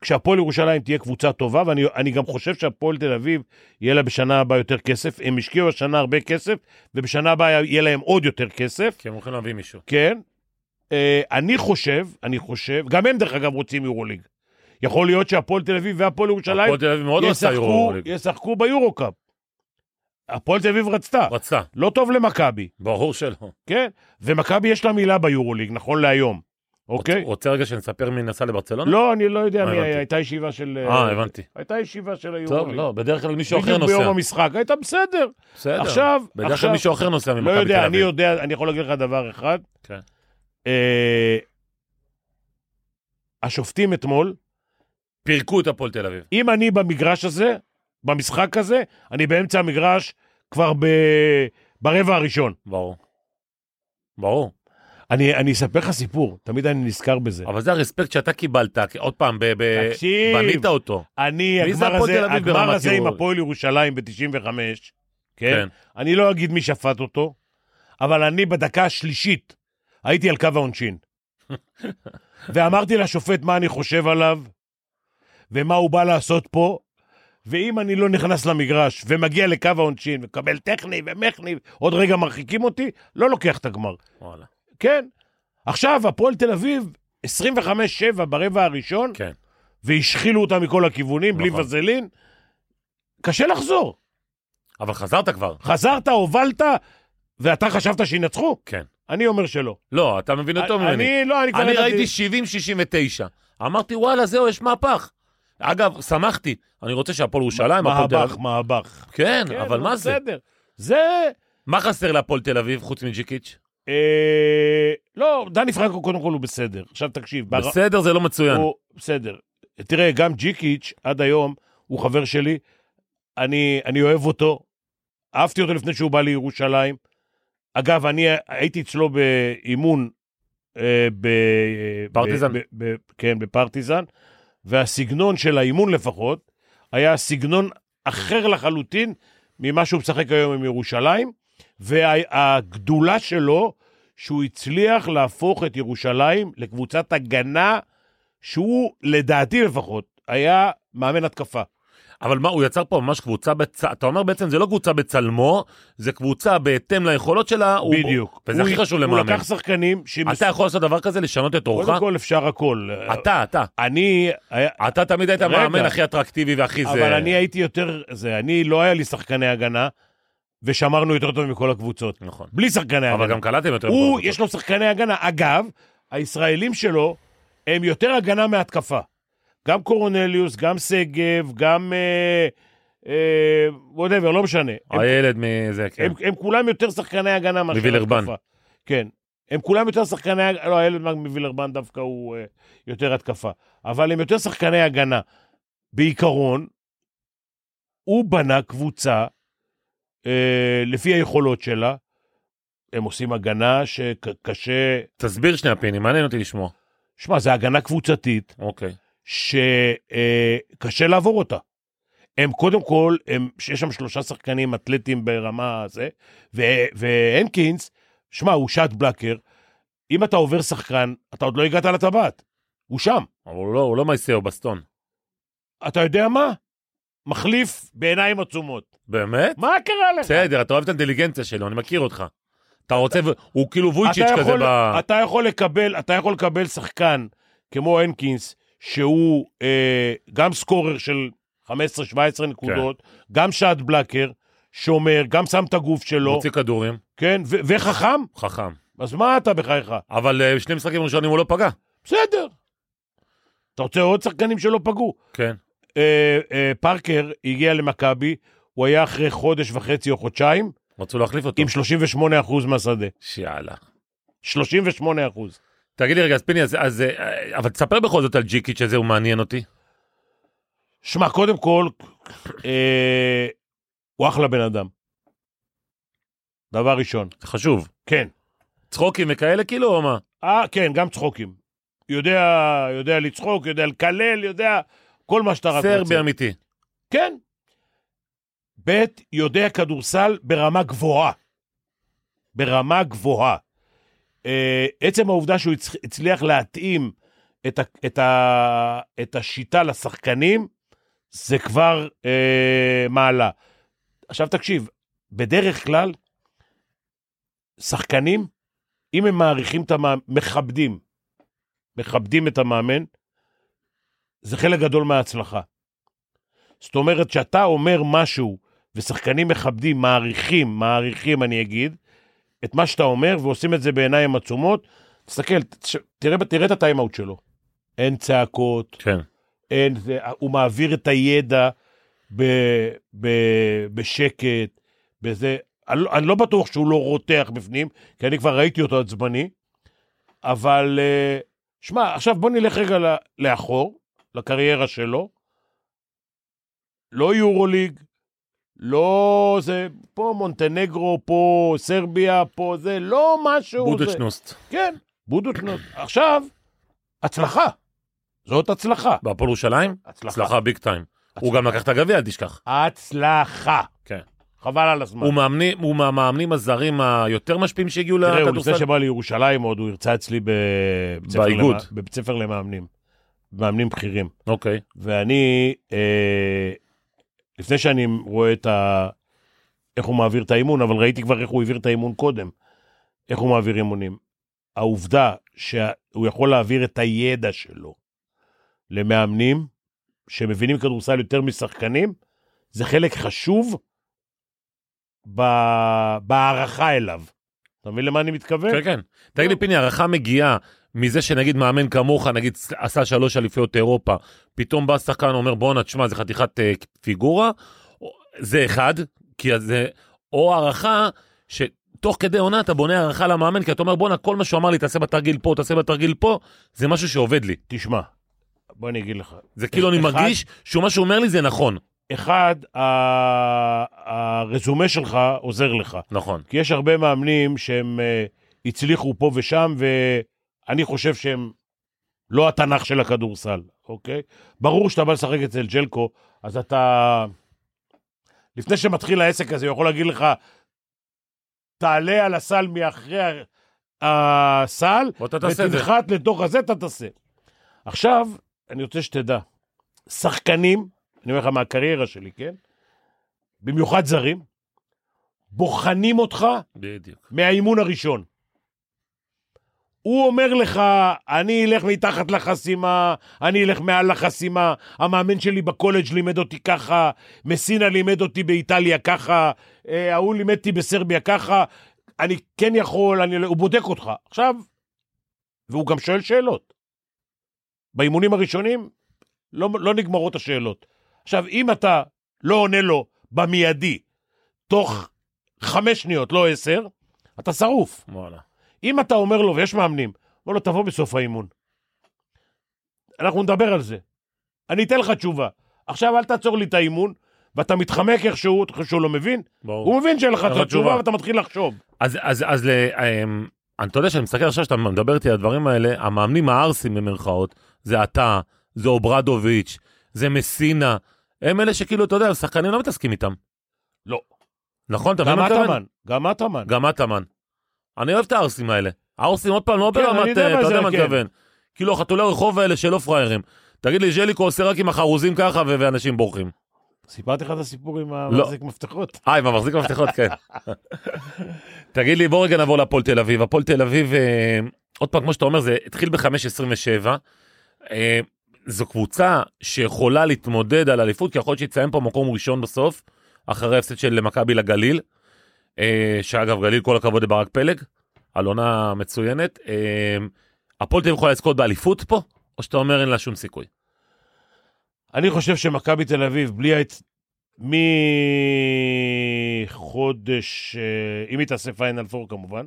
Speaker 3: כשהפועל ירושלים תהיה קבוצה טובה, ואני אני גם חושב שהפועל תל אביב, יהיה לה בשנה הבאה יותר כסף. הם השקיעו השנה הרבה כסף, ובשנה הבאה יהיה להם עוד יותר כסף,
Speaker 2: כי הם הולכים להביא מישהו.
Speaker 3: כן? אה, אני חושב, אני חושב, גם הם דרך אגב רוצים יורוליג. יכול להיות שהפועל תל אביב והפועל ירושלים
Speaker 2: הפועל תל אביב מאוד רצתה
Speaker 3: ישחקו,
Speaker 2: יורוליג.
Speaker 3: ישחקו ביורו-קאפ. הפועל תל אביב רצתה,
Speaker 2: רצתה,
Speaker 3: לא טוב למכבי,
Speaker 2: ברור שלא.
Speaker 3: כן? ומכבי יש לה מילה ביורוליג, נכון להיום, אוקיי?
Speaker 2: רוצה רגע שנספר מי נסע לברצלונה?
Speaker 3: לא, אני לא יודע
Speaker 2: אה,
Speaker 3: מי
Speaker 2: הבנתי.
Speaker 3: היה, הייתה ישיבה של...
Speaker 2: אה, הבנתי.
Speaker 3: הייתה ישיבה של
Speaker 2: טוב,
Speaker 3: היורוליג.
Speaker 2: לא, בדרך כלל מישהו אחר
Speaker 3: בדיוק ביום
Speaker 2: נוסע.
Speaker 3: המשחק, הייתה בסדר.
Speaker 2: בסדר.
Speaker 3: עכשיו,
Speaker 2: בדרך כלל
Speaker 3: עכשיו,
Speaker 2: מישהו אחר נוסע
Speaker 3: לא
Speaker 2: ממכבי תל
Speaker 3: יודע, אני
Speaker 2: אביב.
Speaker 3: יודע, אני יכול להגיד לך דבר אחד.
Speaker 2: כן.
Speaker 3: אה, השופטים אתמול,
Speaker 2: פירקו את הפועל תל אביב.
Speaker 3: אם אני במגרש הזה, במשחק הזה, אני באמצע המגרש כבר ב... ברבע הראשון.
Speaker 2: ברור. ברור.
Speaker 3: אני, אני אספר לך סיפור, תמיד אני נזכר בזה.
Speaker 2: אבל זה הרספקט שאתה קיבלת, כי עוד פעם, ב- ב-
Speaker 3: כן. תקשיב. כן.
Speaker 2: בנית אותו.
Speaker 3: אני,
Speaker 2: מי זה
Speaker 3: הגמר
Speaker 2: הפועל תל
Speaker 3: הזה,
Speaker 2: אביב
Speaker 3: הגמר
Speaker 2: ברמת
Speaker 3: הזה עם
Speaker 2: יורו?
Speaker 3: הפועל ירושלים ב-95, כן?
Speaker 2: כן.
Speaker 3: כן? אני לא אגיד מי שפט אותו, אבל אני בדקה השלישית הייתי על קו העונשין. ואמרתי לשופט מה אני חושב עליו, ומה הוא בא לעשות פה, ואם אני לא נכנס למגרש ומגיע לקו העונשין ומקבל טכני ומכני, עוד רגע מרחיקים אותי, לא לוקח את הגמר.
Speaker 2: וואלה.
Speaker 3: כן. עכשיו, הפועל תל אביב, 25-7 ברבע הראשון,
Speaker 2: כן.
Speaker 3: והשחילו אותה מכל הכיוונים, בלי
Speaker 2: נכון.
Speaker 3: וזלין. קשה לחזור.
Speaker 2: אבל חזרת כבר.
Speaker 3: חזרת, הובלת, ואתה חשבת שינצחו?
Speaker 2: כן.
Speaker 3: אני אומר שלא.
Speaker 2: לא, אתה מבין יותר ממני.
Speaker 3: אני, לא, אני כבר...
Speaker 2: אני
Speaker 3: ידעתי-
Speaker 2: ראיתי 70-69. אמרתי, וואלה, זהו, יש מהפך. אגב, שמחתי. אני רוצה שהפועל ירושלים, הפועל תל
Speaker 3: מהבך,
Speaker 2: אביב.
Speaker 3: מהבך.
Speaker 2: כן,
Speaker 3: כן,
Speaker 2: אבל
Speaker 3: נו,
Speaker 2: מה זה?
Speaker 3: בסדר. זה...
Speaker 2: מה חסר להפועל תל אביב חוץ מג'יקיץ'?
Speaker 3: אה, לא, דני פרנקו קודם כל הוא בסדר. עכשיו תקשיב. בר-
Speaker 2: בסדר, זה לא מצוין.
Speaker 3: הוא בסדר. תראה, גם ג'יקיץ' עד היום הוא חבר שלי, אני, אני אוהב אותו, אהבתי אותו לפני שהוא בא לירושלים. אגב, אני הייתי אצלו באימון אה, ב... אה,
Speaker 2: פרטיזן?
Speaker 3: ב, ב, ב, כן, בפרטיזן, והסגנון של האימון לפחות, היה סגנון אחר לחלוטין ממה שהוא משחק היום עם ירושלים, והגדולה שלו, שהוא הצליח להפוך את ירושלים לקבוצת הגנה, שהוא, לדעתי לפחות, היה מאמן התקפה.
Speaker 2: אבל מה, הוא יצר פה ממש קבוצה, בצ... אתה אומר בעצם זה לא קבוצה בצלמו, זה קבוצה בהתאם ליכולות שלה. הוא-
Speaker 3: בדיוק.
Speaker 2: וזה
Speaker 3: הוא-
Speaker 2: הכי חשוב
Speaker 3: הוא
Speaker 2: למאמן.
Speaker 3: לקח שחקנים שהם...
Speaker 2: אתה יכול לעשות דבר כזה, לשנות את אורך?
Speaker 3: קודם כל אפשר הכל.
Speaker 2: אתה, אתה.
Speaker 3: אני, היה-
Speaker 2: אתה תמיד היית
Speaker 3: רגע.
Speaker 2: המאמן הכי אטרקטיבי והכי זה...
Speaker 3: אבל אני הייתי יותר, זה, אני, לא היה לי שחקני הגנה, ושמרנו יותר טוב מכל הקבוצות.
Speaker 2: נכון.
Speaker 3: בלי שחקני
Speaker 2: אבל
Speaker 3: הגנה.
Speaker 2: גם קלעתם יותר...
Speaker 3: הוא,
Speaker 2: בקבוצות.
Speaker 3: יש לו שחקני הגנה. אגב, הישראלים שלו הם יותר הגנה מהתקפה. גם קורונליוס, גם שגב, גם... אה, אה, whatever, לא משנה. הם,
Speaker 2: הילד מזה, כן.
Speaker 3: הם, הם כולם יותר שחקני הגנה מאשר
Speaker 2: מווילרבן.
Speaker 3: התקפה. כן. הם כולם יותר שחקני... הג- לא, הילד מווילרבן דווקא הוא אה, יותר התקפה. אבל הם יותר שחקני הגנה. בעיקרון, הוא בנה קבוצה אה, לפי היכולות שלה. הם עושים הגנה שקשה...
Speaker 2: תסביר שנייה, פיני, מעניין אותי לשמוע.
Speaker 3: שמע, זו הגנה קבוצתית
Speaker 2: אוקיי.
Speaker 3: שקשה לעבור אותה. הם קודם כל, הם, יש שם שלושה שחקנים אתלטים ברמה זה, ו- והנקינס, שמע, הוא שעת בלקר. אם אתה עובר שחקן, אתה עוד לא הגעת לטבעת. הוא שם.
Speaker 2: אבל הוא לא, הוא לא מייסאו, בסטון.
Speaker 3: אתה יודע מה? מחליף בעיניים עצומות.
Speaker 2: באמת?
Speaker 3: מה קרה לך?
Speaker 2: בסדר, אתה אוהב את האינטליגנציה שלו, אני מכיר אותך. אתה רוצה, ו- הוא כאילו
Speaker 3: אתה
Speaker 2: וויצ'יץ' כזה
Speaker 3: יכול,
Speaker 2: ב...
Speaker 3: אתה יכול לקבל, אתה יכול לקבל שחקן כמו הנקינס, שהוא אה, גם סקורר של 15-17 נקודות,
Speaker 2: כן.
Speaker 3: גם שעד בלקר, שומר, גם שם את הגוף שלו,
Speaker 2: מוציא כדורים,
Speaker 3: כן, ו- וחכם,
Speaker 2: חכם.
Speaker 3: אז מה אתה בחייך?
Speaker 2: אבל אה, שני משחקים ראשונים הוא לא פגע.
Speaker 3: בסדר. אתה רוצה עוד שחקנים שלא פגעו?
Speaker 2: כן.
Speaker 3: אה, אה, פארקר הגיע למכבי, הוא היה אחרי חודש וחצי או חודשיים,
Speaker 2: רצו להחליף אותו.
Speaker 3: עם 38% מהשדה.
Speaker 2: שיאללה.
Speaker 3: 38%.
Speaker 2: תגיד לי רגע, אז פיני, אז, אז... אה, אבל תספר בכל זאת על ג'יקיץ' הזה, הוא מעניין אותי.
Speaker 3: שמע, קודם כל, אה, הוא אחלה בן אדם. דבר ראשון.
Speaker 2: זה חשוב.
Speaker 3: כן.
Speaker 2: צחוקים וכאלה כאילו, או מה?
Speaker 3: אה, כן, גם צחוקים. יודע, יודע לצחוק, יודע לקלל, יודע כל מה שאתה רק רוצה.
Speaker 2: סרבי אמיתי.
Speaker 3: כן. ב' יודע כדורסל ברמה גבוהה. ברמה גבוהה. אה, עצם העובדה שהוא הצ- הצליח להתאים את, ה, את, ה, את השיטה לשחקנים, זה כבר אה, מעלה. עכשיו תקשיב, בדרך כלל, שחקנים, אם הם מעריכים את המאמן, מכבדים, מכבדים את המאמן, זה חלק גדול מההצלחה. זאת אומרת, כשאתה אומר משהו, ושחקנים מכבדים, מעריכים, מעריכים, אני אגיד, את מה שאתה אומר, ועושים את זה בעיניים עצומות, תסתכל, תש- תראה, תראה את הטיימאוט שלו. אין צעקות,
Speaker 2: כן.
Speaker 3: אין, זה, הוא מעביר את הידע ב, ב, בשקט, בזה. אני, לא- אני לא בטוח שהוא לא רותח בפנים, כי אני כבר ראיתי אותו עצבני, אבל אה, שמע, עכשיו בוא נלך רגע ל- לאחור, לקריירה שלו. לא יורוליג, לא זה, פה מונטנגרו, פה סרביה, פה זה, לא משהו. זה.
Speaker 2: בודדשנוסט.
Speaker 3: כן, בודוצ'נות. עכשיו, הצלחה. זאת הצלחה.
Speaker 2: בהפועל ירושלים? הצלחה ביג טיים. הוא גם לקח את הגביע, אל תשכח.
Speaker 3: הצלחה.
Speaker 2: כן.
Speaker 3: חבל על הזמן.
Speaker 2: הוא מאמני- הוא מהמאמנים הזרים היותר משפיעים שהגיעו
Speaker 3: תראה, הוא לפני
Speaker 2: לכדורסל?
Speaker 3: שבא לירושלים עוד, הוא הרצה אצלי ב- בבית ספר
Speaker 2: באיגוד.
Speaker 3: למא- בבית ספר למאמנים. מאמנים בכירים.
Speaker 2: אוקיי.
Speaker 3: ואני, אה, לפני שאני רואה את ה... איך הוא מעביר את האימון, אבל ראיתי כבר איך הוא העביר את האימון קודם, איך הוא מעביר אימונים. העובדה שהוא יכול להעביר את הידע שלו למאמנים שמבינים כדורסל יותר משחקנים, זה חלק חשוב ב... בהערכה אליו. אתה מבין למה אני מתכוון?
Speaker 2: כן, כן. תגיד
Speaker 3: לא.
Speaker 2: לי, פיני, הערכה מגיעה מזה שנגיד מאמן כמוך, נגיד עשה שלוש אליפויות אירופה, פתאום בא שחקן אומר, בואנה, תשמע, זה חתיכת אה, פיגורה, או- זה אחד, כי אז זה, או הערכה שתוך כדי עונה אתה בונה הערכה למאמן, כי אתה אומר, בואנה, כל מה שהוא אמר לי, תעשה בתרגיל פה, תעשה בתרגיל פה, זה משהו שעובד לי.
Speaker 3: תשמע, בוא אני אגיד לך.
Speaker 2: זה כאילו אני
Speaker 3: אחד-
Speaker 2: מרגיש שמה שהוא אומר לי זה נכון.
Speaker 3: אחד, ה- הרזומה שלך עוזר לך.
Speaker 2: נכון.
Speaker 3: כי יש הרבה מאמנים שהם אה, הצליחו פה ושם, אני חושב שהם לא התנ"ך של הכדורסל, אוקיי? ברור שאתה בא לשחק אצל ג'לקו, אז אתה... לפני שמתחיל העסק הזה, הוא יכול להגיד לך, תעלה על הסל מאחרי ה- הסל,
Speaker 2: בוא אתה תעשה את זה.
Speaker 3: ותנחת לתוך הזה, אתה תעשה. עכשיו, אני רוצה שתדע, שחקנים, אני אומר לך מהקריירה שלי, כן? במיוחד זרים, בוחנים אותך
Speaker 2: בדיוק.
Speaker 3: מהאימון הראשון. הוא אומר לך, אני אלך מתחת לחסימה, אני אלך מעל לחסימה, המאמן שלי בקולג' לימד אותי ככה, מסינה לימד אותי באיטליה ככה, אה, ההוא לימד אותי בסרביה ככה, אני כן יכול, אני... לא-" הוא בודק אותך. עכשיו, והוא גם שואל שאלות. באימונים הראשונים לא, לא נגמרות השאלות. עכשיו, אם אתה לא עונה לו במיידי, תוך חמש שניות, לא עשר, אתה שרוף.
Speaker 2: וואלה.
Speaker 3: אם אתה אומר לו, ויש מאמנים, אומר לו, תבוא בסוף האימון. אנחנו נדבר על זה. אני אתן לך תשובה. עכשיו אל תעצור לי את האימון, ואתה מתחמק איכשהו, אתה חושב שהוא לא מבין?
Speaker 2: ברור.
Speaker 3: הוא מבין שאין לך
Speaker 2: אין לך
Speaker 3: את התשובה
Speaker 2: תשובה.
Speaker 3: ואתה מתחיל לחשוב.
Speaker 2: אז, אז, אז ל, אמ, אני, אתה יודע שאני מסתכל עכשיו שאתה מדבר איתי על הדברים האלה, המאמנים הערסים במרכאות, זה אתה, זה אוברדוביץ', זה מסינה, הם אלה שכאילו, אתה יודע, השחקנים לא מתעסקים איתם.
Speaker 3: לא.
Speaker 2: נכון? אתה מבין
Speaker 3: גם
Speaker 2: מה אני מתכוון?
Speaker 3: אטמן, גם אטמן.
Speaker 2: גם אטמן. אני אוהב את הערסים האלה. הערסים עוד פעם לא
Speaker 3: כן, אני
Speaker 2: ברמת,
Speaker 3: יודע
Speaker 2: אה,
Speaker 3: מה
Speaker 2: אתה
Speaker 3: זה,
Speaker 2: יודע מה אני
Speaker 3: כן.
Speaker 2: מתכוון. כאילו החתולי רחוב האלה שלא פראיירים. תגיד לי, ז'ליקו עושה רק עם החרוזים ככה ו- ואנשים בורחים.
Speaker 3: סיפרתי לך את הסיפור עם
Speaker 2: לא.
Speaker 3: המחזיק מפתחות.
Speaker 2: אה, עם המחזיק מפתחות, כן. תגיד לי, בוא רגע נעבור להפועל תל אביב. הפועל תל אביב, אה, עוד פעם, כמו שאתה אומר, זה התחיל ב-5.27. אה, זו קבוצה שיכולה להתמודד על אליפות, כי יכול להיות שהיא תסיים פה מקום ראשון בסוף, אחרי ההפסד של מכבי לגליל, אה, שאגב, גליל, כל הכבוד לברק פלג, על עונה מצוינת. אה, הפועל תל אביב יכולה לזכות באליפות פה, או שאתה אומר אין לה שום סיכוי?
Speaker 3: אני חושב שמכבי תל אביב, בלי ההצ... מחודש, אה, אם היא תעשה פיינל פור כמובן,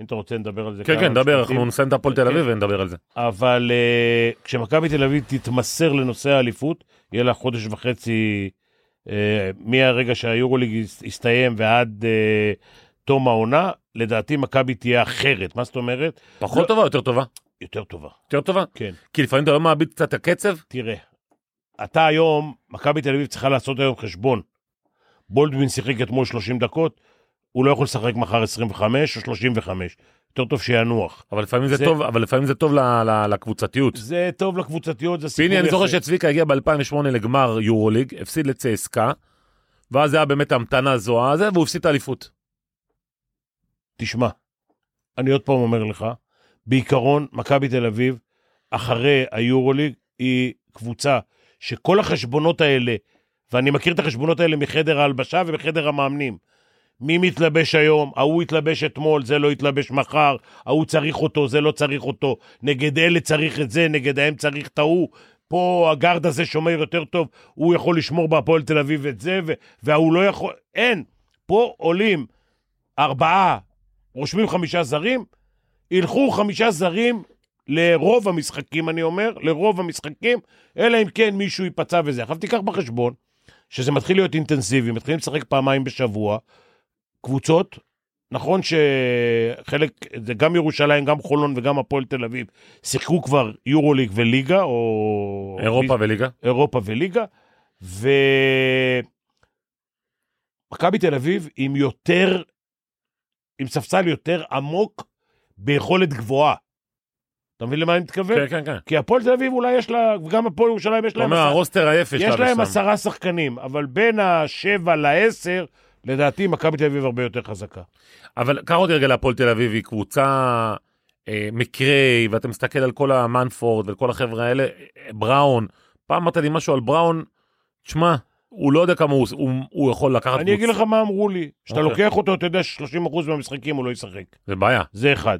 Speaker 3: אם אתה רוצה נדבר על זה.
Speaker 2: כן,
Speaker 3: כמה
Speaker 2: כן, דבר,
Speaker 3: משפטים.
Speaker 2: אנחנו נסיים את הפועל תל אביב
Speaker 3: כן.
Speaker 2: ונדבר על זה.
Speaker 3: אבל uh, כשמכבי תל אביב תתמסר לנושא האליפות, יהיה לה חודש וחצי uh, מהרגע שהיורוליג הס- הסתיים ועד uh, תום העונה, לדעתי מכבי תהיה אחרת. מה זאת אומרת?
Speaker 2: פחות
Speaker 3: לא.
Speaker 2: טובה, יותר טובה?
Speaker 3: יותר טובה.
Speaker 2: יותר טובה?
Speaker 3: כן.
Speaker 2: כי לפעמים אתה לא מאבד קצת את הקצב,
Speaker 3: תראה, אתה היום, מכבי תל אביב צריכה לעשות היום חשבון. בולדווין שיחק אתמול 30 דקות, הוא לא יכול לשחק מחר 25 או 35. יותר טוב שינוח.
Speaker 2: אבל לפעמים זה,
Speaker 3: זה-
Speaker 2: טוב, אבל לפעמים זה טוב ל- ל- לקבוצתיות.
Speaker 3: זה טוב לקבוצתיות, זה סיפור יפה.
Speaker 2: פיני, אני זוכר שצביקה הגיע ב-2008 לגמר יורוליג, הפסיד לצסקה, ואז זה היה באמת המתנה זוהה, זה, והוא הפסיד את האליפות.
Speaker 3: תשמע, אני עוד פעם אומר לך, בעיקרון, מכבי תל אביב, אחרי היורוליג, היא קבוצה שכל החשבונות האלה, ואני מכיר את החשבונות האלה מחדר ההלבשה ומחדר המאמנים. מי מתלבש היום, ההוא התלבש אתמול, זה לא התלבש מחר, ההוא צריך אותו, זה לא צריך אותו, נגד אלה צריך את זה, נגד ההם צריך את ההוא, פה הגארד הזה שומר יותר טוב, הוא יכול לשמור בהפועל תל אביב את זה, ו- וההוא לא יכול, אין. פה עולים ארבעה, רושמים חמישה זרים, ילכו חמישה זרים לרוב המשחקים, אני אומר, לרוב המשחקים, אלא אם כן מישהו ייפצע וזה. עכשיו תיקח בחשבון שזה מתחיל להיות אינטנסיבי, מתחילים לשחק פעמיים בשבוע, קבוצות, נכון שחלק, זה גם ירושלים, גם חולון וגם הפועל תל אביב, שיחקו כבר יורוליג וליגה, או...
Speaker 2: אירופה וליגה.
Speaker 3: אירופה וליגה, ו... מכבי תל אביב עם יותר, עם ספסל יותר עמוק ביכולת גבוהה. אתה מבין למה אני מתכוון?
Speaker 2: כן, כן, כן.
Speaker 3: כי הפועל תל אביב אולי יש לה, וגם הפועל ירושלים יש
Speaker 2: אתה
Speaker 3: להם,
Speaker 2: אומר, הרוסטר היפה
Speaker 3: יש להם
Speaker 2: שם.
Speaker 3: עשרה שחקנים, אבל בין השבע לעשר, לדעתי מכבי תל אביב הרבה יותר חזקה.
Speaker 2: אבל קח אותי רגע להפועל תל אביב, היא קבוצה אה, מקרי, ואתה מסתכל על כל המנפורד וכל החבר'ה האלה, אה, בראון, פעם אמרת לי משהו על בראון, תשמע, הוא לא יודע כמה הוא, הוא, הוא יכול לקחת
Speaker 3: אני אגיד
Speaker 2: קבוצה.
Speaker 3: לך מה אמרו לי, כשאתה
Speaker 2: אוקיי.
Speaker 3: לוקח אותו, אתה יודע ש-30% מהמשחקים הוא לא ישחק.
Speaker 2: זה בעיה.
Speaker 3: זה אחד.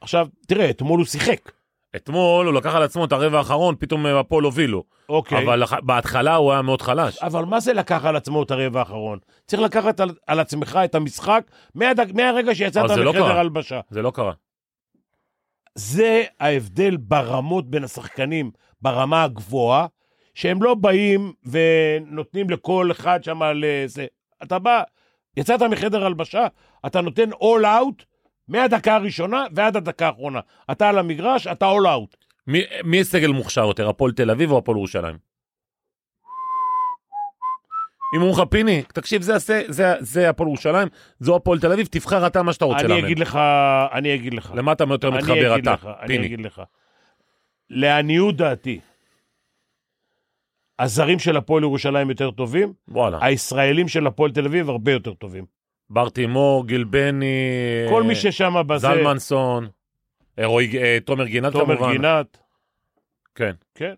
Speaker 3: עכשיו, תראה, אתמול הוא שיחק.
Speaker 2: אתמול הוא לקח על עצמו את הרבע האחרון, פתאום אה, הפועל הובילו.
Speaker 3: אוקיי. אה.
Speaker 2: אבל לח- בהתחלה הוא היה מאוד חלש.
Speaker 3: אבל מה זה לקח על עצמו את הרבע האחרון? צריך לקחת על, על עצמך את המשחק מהדג, מהרגע שיצאת
Speaker 2: אבל זה לא
Speaker 3: מחדר
Speaker 2: קרה.
Speaker 3: הלבשה.
Speaker 2: זה לא קרה.
Speaker 3: זה ההבדל ברמות בין השחקנים, ברמה הגבוהה, שהם לא באים ונותנים לכל אחד שם על אה, זה. אתה בא, יצאת מחדר הלבשה, אתה נותן all out מהדקה הראשונה ועד הדקה האחרונה. אתה על המגרש, אתה אול אאוט.
Speaker 2: מי, מי סגל מוכשר יותר, הפועל תל אביב או הפועל ירושלים? אם אומרים לך פיני, תקשיב, זה, זה, זה, זה הפועל ירושלים, זו הפועל תל אביב, תבחר אתה מה שאתה לא רוצה
Speaker 3: אני
Speaker 2: לאמן.
Speaker 3: אגיד לך, אני אגיד לך.
Speaker 2: למה אתה יותר מתחבר
Speaker 3: אני אגיד
Speaker 2: אתה,
Speaker 3: לך, אני
Speaker 2: פיני?
Speaker 3: אגיד לך. לעניות דעתי, הזרים של הפועל ירושלים יותר טובים,
Speaker 2: וואלה.
Speaker 3: הישראלים של הפועל תל אביב הרבה יותר טובים.
Speaker 2: בר תימור, גיל בני,
Speaker 3: כל מי
Speaker 2: אה,
Speaker 3: ששם בזה,
Speaker 2: זלמנסון, אה, רועי- אה, תומר גינת
Speaker 3: תומר
Speaker 2: כמובן.
Speaker 3: גינת,
Speaker 2: כן.
Speaker 3: כן.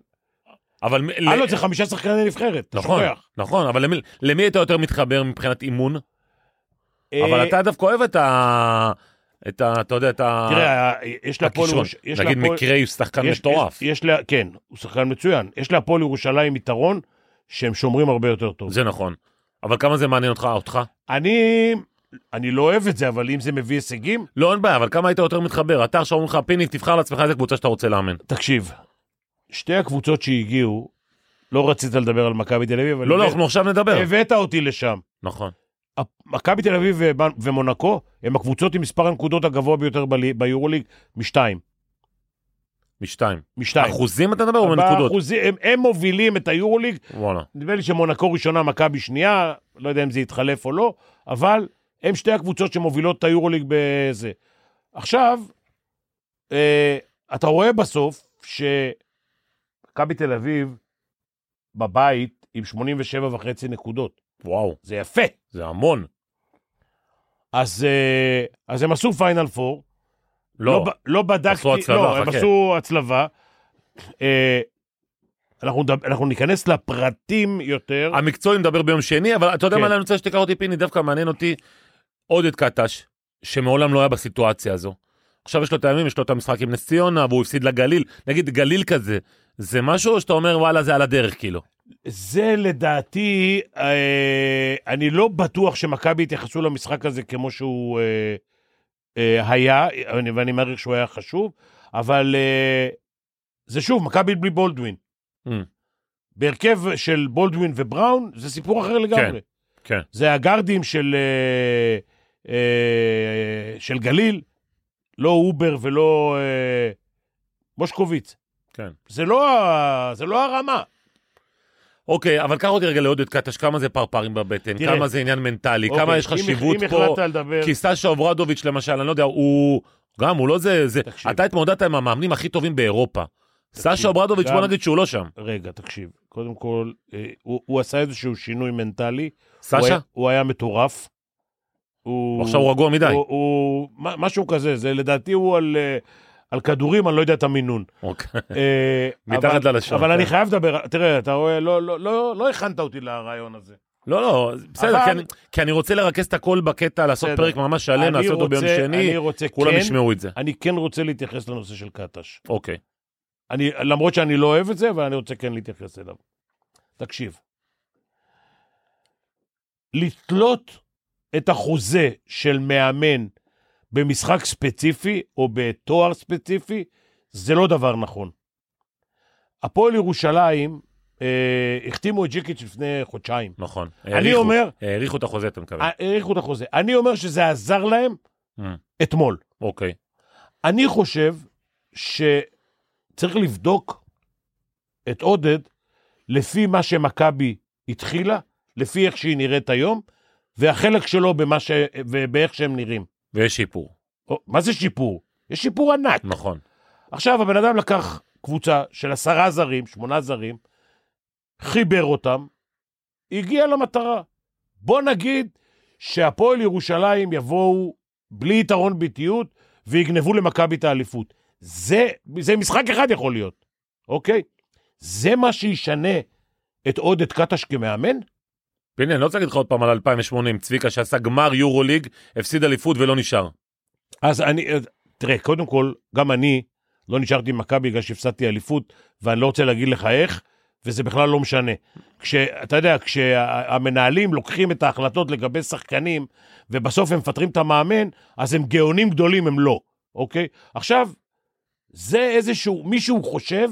Speaker 2: אבל מ- ל-
Speaker 3: הלו, זה חמישה שחקני נבחרת, אתה
Speaker 2: נכון,
Speaker 3: שוכח.
Speaker 2: נכון, אבל למי- למי אתה יותר מתחבר מבחינת אימון? אבל
Speaker 3: אה,
Speaker 2: אתה דווקא אוהב את ה... את ה... אתה יודע, את ה...
Speaker 3: תראה, יש להפועל...
Speaker 2: הכישרון.
Speaker 3: ירוש- יש
Speaker 2: נגיד
Speaker 3: להפועל-
Speaker 2: מקרי הוא שחקן
Speaker 3: יש-
Speaker 2: מטורף.
Speaker 3: יש- יש לה- כן, הוא שחקן מצוין. יש להפועל ירושלים יתרון שהם שומרים הרבה יותר טוב.
Speaker 2: זה נכון. אבל כמה זה מעניין אותך, אותך?
Speaker 3: אני... אני לא אוהב את זה, אבל אם זה מביא הישגים,
Speaker 2: לא, אין בעיה, אבל כמה היית יותר מתחבר? אתה עכשיו אומרים לך, פיני, תבחר לעצמך איזה קבוצה שאתה רוצה לאמן.
Speaker 3: תקשיב, שתי הקבוצות שהגיעו, לא רצית לדבר על מכבי תל אביב, אבל
Speaker 2: לא, לא,
Speaker 3: הבאת-
Speaker 2: אנחנו עכשיו נדבר.
Speaker 3: הבאת אותי לשם.
Speaker 2: נכון.
Speaker 3: הפ- מכבי תל אביב ובנ- ומונקו הם הקבוצות עם מספר הנקודות הגבוה ביותר בלי- ביורוליג, משתיים.
Speaker 2: משתיים.
Speaker 3: משתיים.
Speaker 2: אחוזים אתה מדבר או בנקודות?
Speaker 3: באחוזים- הם, הם מובילים את היורוליג,
Speaker 2: וואלה.
Speaker 3: נדמה לי שמונקו ראשונה, מכבי שנייה, לא יודע אם זה יתחלף או לא, אבל הם שתי הקבוצות שמובילות את היורוליג בזה. עכשיו, אה, אתה רואה בסוף שמכבי תל אביב בבית עם 87 וחצי נקודות.
Speaker 2: וואו,
Speaker 3: זה יפה.
Speaker 2: זה המון.
Speaker 3: אז, אה, אז הם עשו פיינל פור,
Speaker 2: לא,
Speaker 3: לא, ב- לא בדקתי,
Speaker 2: עשו הצלבה,
Speaker 3: לא, הם
Speaker 2: חכה.
Speaker 3: עשו הצלבה. אה, אנחנו, נדב- אנחנו ניכנס לפרטים יותר.
Speaker 2: המקצועי נדבר ביום שני, אבל אתה יודע
Speaker 3: כן.
Speaker 2: מה אני רוצה שתיקח אותי, פיני, דווקא מעניין אותי עודד קטש, שמעולם לא היה בסיטואציה הזו. עכשיו יש לו את הימים, יש לו את המשחק עם נס ציונה, והוא הפסיד לגליל. נגיד גליל כזה, זה משהו או שאתה אומר וואלה זה על הדרך כאילו?
Speaker 3: זה לדעתי, אה, אני לא בטוח שמכבי התייחסו למשחק הזה כמו שהוא אה, אה, היה, אני- ואני מעריך שהוא היה חשוב, אבל אה, זה שוב, מכבי בלי בולדווין.
Speaker 2: Mm.
Speaker 3: בהרכב של בולדווין ובראון, זה סיפור אחר לגמרי.
Speaker 2: כן.
Speaker 3: זה הגארדים של, אה, אה, של גליל, לא אובר ולא אה, מושקוביץ.
Speaker 2: כן.
Speaker 3: זה לא, ה- זה לא הרמה.
Speaker 2: אוקיי, אבל קח אותי רגע לעודד קטש, כמה זה פרפרים בבטן,
Speaker 3: תראה.
Speaker 2: כמה זה עניין מנטלי, כמה
Speaker 3: אוקיי,
Speaker 2: יש
Speaker 3: אם-
Speaker 2: חשיבות
Speaker 3: אם
Speaker 2: פה,
Speaker 3: החלטת לדבר...
Speaker 2: כי סשה אוברדוביץ' למשל, אני לא יודע, הוא... גם, הוא לא זה... זה...
Speaker 3: תקשיב.
Speaker 2: אתה התמודדת עם המאמנים הכי טובים באירופה.
Speaker 3: תקשיב,
Speaker 2: סשה אוברדוביץ', בוא
Speaker 3: גם-
Speaker 2: נגיד שהוא לא שם.
Speaker 3: רגע, תקשיב. קודם כל, אה, הוא, הוא עשה איזשהו שינוי מנטלי. הוא
Speaker 2: סשה?
Speaker 3: היה, הוא היה מטורף. הוא...
Speaker 2: עכשיו הוא רגוע מדי.
Speaker 3: הוא, הוא, מה- משהו כזה, זה לדעתי הוא על, אה, על כדורים, אני לא יודע את המינון.
Speaker 2: אוקיי.
Speaker 3: אה,
Speaker 2: מתחת
Speaker 3: אבל-
Speaker 2: ללשון,
Speaker 3: אבל
Speaker 2: כן.
Speaker 3: אני חייב לדבר, תראה, אתה רואה, לא, לא, לא, לא הכנת אותי לרעיון הזה.
Speaker 2: לא, לא, בסדר,
Speaker 3: אבל-
Speaker 2: כי אני- כי אני רוצה לרכז את הכל בקטע, לעשות
Speaker 3: בסדר.
Speaker 2: פרק ממש שלם,
Speaker 3: אני
Speaker 2: לעשות אותו ביום
Speaker 3: רוצה-
Speaker 2: שני,
Speaker 3: אני רוצה
Speaker 2: כולם
Speaker 3: כן,
Speaker 2: ישמעו את זה.
Speaker 3: אני כן רוצה להתייחס לנושא של קטש.
Speaker 2: אוקיי.
Speaker 3: אני, למרות שאני לא אוהב את זה, אבל אני רוצה כן להתייחס אליו. תקשיב. לתלות את החוזה של מאמן במשחק ספציפי או בתואר ספציפי, זה לא דבר נכון. הפועל ירושלים אה, החתימו את ג'יקיץ' לפני חודשיים.
Speaker 2: נכון.
Speaker 3: אני
Speaker 2: האריכו-
Speaker 3: אומר,
Speaker 2: האריכו את החוזה, אתה מקבל.
Speaker 3: האריכו את החוזה. אני אומר שזה עזר להם
Speaker 2: Mm.
Speaker 3: אתמול.
Speaker 2: אוקיי.
Speaker 3: אני חושב שצריך לבדוק את עודד לפי מה שמכבי התחילה, לפי איך שהיא נראית היום, והחלק שלו במה ש... ובאיך שהם נראים.
Speaker 2: ויש שיפור.
Speaker 3: או, מה זה שיפור? יש שיפור ענק.
Speaker 2: נכון.
Speaker 3: עכשיו, הבן אדם לקח קבוצה של עשרה זרים, שמונה זרים, חיבר אותם, הגיע למטרה. בוא נגיד שהפועל ירושלים יבואו בלי יתרון ביתיות ויגנבו למכבי את האליפות. זה, זה משחק אחד יכול להיות, אוקיי? זה מה שישנה את עודד קטש כמאמן?
Speaker 2: פיני, אני לא רוצה להגיד לך עוד פעם על 2008 עם צביקה שעשה גמר יורו ליג, הפסיד אליפות ולא נשאר.
Speaker 3: אז אני, תראה, קודם כל, גם אני לא נשארתי עם מכבי בגלל שהפסדתי אליפות, ואני לא רוצה להגיד לך איך, וזה בכלל לא משנה. כש, אתה יודע, כשהמנהלים לוקחים את ההחלטות לגבי שחקנים, ובסוף הם מפטרים את המאמן, אז הם גאונים גדולים, הם לא, אוקיי? עכשיו, זה איזשהו, מישהו חושב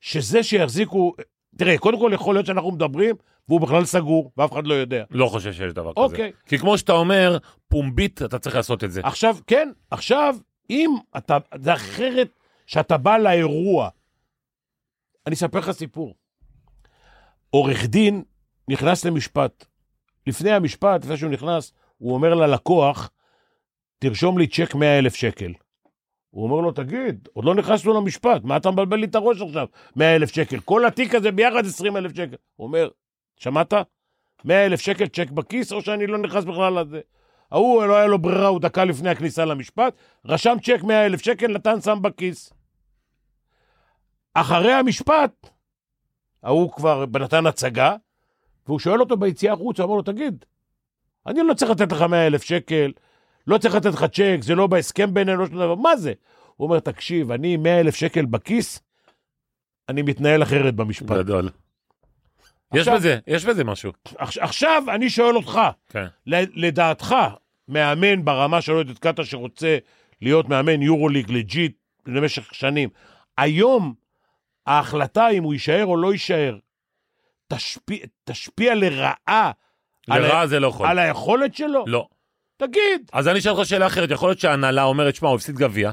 Speaker 3: שזה שיחזיקו תראה, קודם כל יכול להיות שאנחנו מדברים, והוא בכלל סגור, ואף אחד לא יודע.
Speaker 2: לא חושב שיש דבר כזה.
Speaker 3: אוקיי.
Speaker 2: כי כמו שאתה אומר, פומבית אתה צריך לעשות את זה.
Speaker 3: עכשיו, כן, עכשיו, אם אתה, זה אחרת שאתה בא לאירוע. אני אספר לך סיפור. עורך דין נכנס למשפט. לפני המשפט, לפני שהוא נכנס, הוא אומר ללקוח, תרשום לי צ'ק 100 אלף שקל. הוא אומר לו, תגיד, עוד לא נכנסנו למשפט, מה אתה מבלבל לי את הראש עכשיו? 100 אלף שקל. כל התיק הזה ביחד 20 אלף שקל. הוא אומר, שמעת? 100 אלף שקל צ'ק בכיס, או שאני לא נכנס בכלל לזה. ההוא, לא היה לו ברירה, הוא דקה לפני הכניסה למשפט, רשם צ'ק 100 אלף שקל, נתן שם בכיס. אחרי המשפט, ההוא כבר נתן הצגה, והוא שואל אותו ביציאה החוצה, אמר לו, תגיד, אני לא צריך לתת לך 100 אלף שקל, לא צריך לתת לך צ'ק, זה לא בהסכם בינינו, לא שום דבר, מה זה? הוא אומר, תקשיב, אני 100 אלף שקל בכיס, אני מתנהל אחרת במשפט.
Speaker 2: גדול. יש
Speaker 3: עכשיו-
Speaker 2: בזה, יש בזה משהו.
Speaker 3: עכש- עכשיו אני שואל אותך,
Speaker 2: כן.
Speaker 3: ל- לדעתך, מאמן ברמה של אוהד קטה שרוצה להיות מאמן יורוליג לג'יט למשך שנים, היום ההחלטה אם הוא יישאר או לא יישאר, תשפיע, תשפיע לרעה על,
Speaker 2: לרעה זה לא יכול.
Speaker 3: ה- על היכולת שלו?
Speaker 2: לא.
Speaker 3: תגיד.
Speaker 2: אז אני אשאל אותך שאלה אחרת, יכול להיות שההנהלה אומרת, שמע, הוא הפסיד גביע,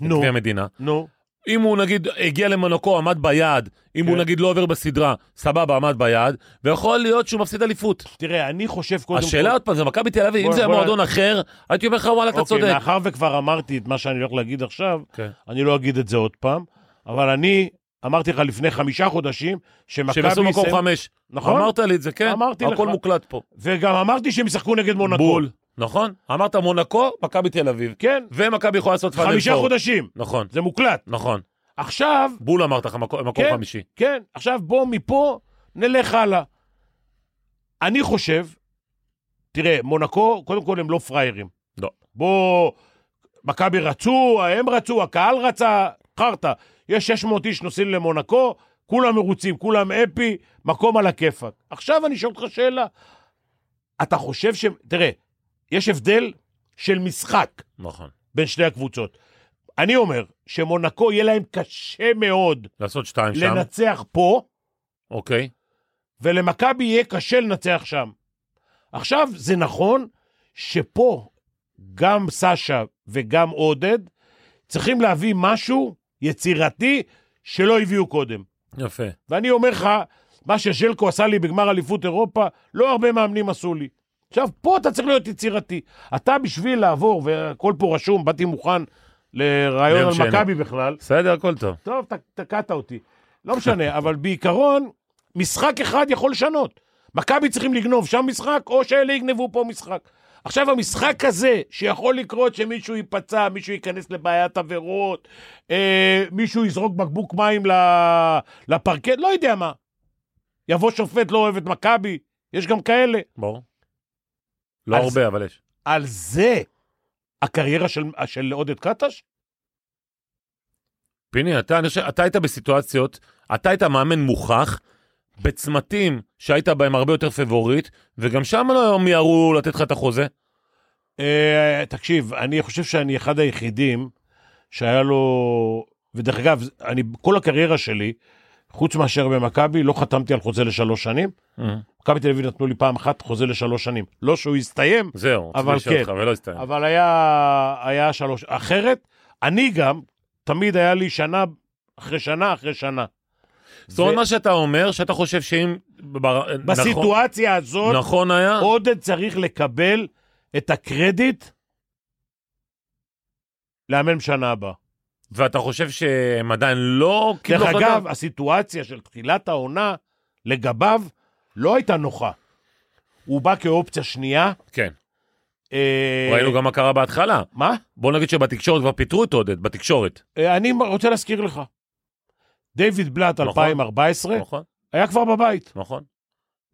Speaker 3: נו,
Speaker 2: גביע המדינה.
Speaker 3: נו.
Speaker 2: אם הוא נגיד הגיע למונקו, עמד ביעד, אם
Speaker 3: כן.
Speaker 2: הוא נגיד לא עובר בסדרה, סבבה, עמד ביעד, ויכול להיות שהוא מפסיד אליפות.
Speaker 3: תראה, אני חושב קודם
Speaker 2: השאלה עוד פעם, זה מכבי תל אביב,
Speaker 3: בוא-
Speaker 2: אם זה היה
Speaker 3: בוא-
Speaker 2: מועדון אחר, הייתי אומר לך, וואלה, אתה
Speaker 3: אוקיי,
Speaker 2: צודק.
Speaker 3: מאחר וכבר אמרתי את מה שאני הולך להגיד עכשיו,
Speaker 2: כן.
Speaker 3: אני לא אגיד את זה עוד פעם, אבל אני אמרתי לך לפני חמישה חודשים, שמכבי...
Speaker 2: שהם עשו מקום
Speaker 3: יסיים-
Speaker 2: חמש.
Speaker 3: נכון.
Speaker 2: אמרת לי את זה, כן?
Speaker 3: אמרתי לך.
Speaker 2: הכל מוקלט פה.
Speaker 3: וגם אמרתי שהם ישחקו נגד מונקו.
Speaker 2: בול. נכון? אמרת מונקו, מכבי תל אביב.
Speaker 3: כן,
Speaker 2: ומכבי יכולה לעשות פאנל
Speaker 3: חמישה
Speaker 2: פור.
Speaker 3: חודשים,
Speaker 2: נכון,
Speaker 3: זה מוקלט.
Speaker 2: נכון.
Speaker 3: עכשיו,
Speaker 2: בול אמרת לך, מקום מקום
Speaker 3: כן.
Speaker 2: חמישי.
Speaker 3: כן, עכשיו בוא מפה נלך הלאה. אני חושב, תראה, מונקו, קודם כל הם לא פראיירים.
Speaker 2: לא.
Speaker 3: בוא, מכבי רצו, הם רצו, הקהל רצה, חרטא. יש 600 איש נוסעים למונקו, כולם מרוצים, כולם אפי, מקום על הכיפאק. עכשיו אני שואל אותך שאלה. אתה חושב ש... תראה, יש הבדל של משחק.
Speaker 2: נכון.
Speaker 3: בין שתי הקבוצות. אני אומר שמונקו יהיה להם קשה מאוד
Speaker 2: לעשות שתיים שם,
Speaker 3: לנצח פה,
Speaker 2: אוקיי.
Speaker 3: ולמכבי יהיה קשה לנצח שם. עכשיו, זה נכון שפה גם סשה וגם עודד צריכים להביא משהו יצירתי שלא הביאו קודם.
Speaker 2: יפה.
Speaker 3: ואני אומר לך, מה שז'לקו עשה לי בגמר אליפות אירופה, לא הרבה מאמנים עשו לי. עכשיו, פה אתה צריך להיות יצירתי. אתה בשביל לעבור, והכל פה רשום, באתי מוכן לרעיון
Speaker 2: ליום
Speaker 3: על
Speaker 2: שני.
Speaker 3: מכבי בכלל.
Speaker 2: בסדר, הכל טוב.
Speaker 3: טוב, ת- תקעת אותי. לא משנה, אבל בעיקרון, משחק אחד יכול לשנות. מכבי צריכים לגנוב שם משחק, או שאלה יגנבו פה משחק. עכשיו, המשחק הזה, שיכול לקרות שמישהו ייפצע, מישהו ייכנס לבעיית עבירות, אה, מישהו יזרוק בקבוק מים ל- לפרקט, לא יודע מה. יבוא שופט, לא אוהב את מכבי, יש גם כאלה.
Speaker 2: ברור. לא
Speaker 3: אז-
Speaker 2: הרבה, אבל יש.
Speaker 3: על זה הקריירה של, של עודד קטש?
Speaker 2: פיני, אתה, אני חושב, אתה היית בסיטואציות, אתה היית מאמן מוכח, בצמתים שהיית בהם הרבה יותר פבוריט, וגם שם לא מיהרו לתת לך את החוזה.
Speaker 3: אה, תקשיב, אני חושב שאני אחד היחידים שהיה לו, ודרך אגב, אני כל הקריירה שלי, חוץ מאשר במכבי, לא חתמתי על חוזה לשלוש שנים. מכבי תל אביב נתנו לי פעם אחת חוזה לשלוש שנים. לא שהוא הסתיים,
Speaker 2: זהו, רציתי
Speaker 3: אבל
Speaker 2: לשאול
Speaker 3: כן.
Speaker 2: אותך, ולא הסתיים.
Speaker 3: אבל היה, היה שלוש. אחרת, אני גם, תמיד היה לי שנה אחרי שנה אחרי שנה.
Speaker 2: זאת אומרת,
Speaker 3: ו-
Speaker 2: מה שאתה אומר, שאתה חושב שאם... בר- נכון-
Speaker 3: בסיטואציה הזאת,
Speaker 2: נכון היה,
Speaker 3: עודד צריך לקבל את הקרדיט לאמן שנה הבאה.
Speaker 2: ואתה חושב שהם עדיין לא קיבלו
Speaker 3: דרך
Speaker 2: החלטה?
Speaker 3: אגב, הסיטואציה של תחילת העונה לגביו לא הייתה נוחה. הוא בא כאופציה שנייה.
Speaker 2: כן.
Speaker 3: אה,
Speaker 2: ראינו גם מה קרה בהתחלה.
Speaker 3: מה?
Speaker 2: בוא נגיד שבתקשורת כבר פיטרו את עודד, בתקשורת.
Speaker 3: אה, אני רוצה להזכיר לך. דיוויד בלאט
Speaker 2: נכון.
Speaker 3: 2014
Speaker 2: נכון,
Speaker 3: היה כבר בבית.
Speaker 2: נכון.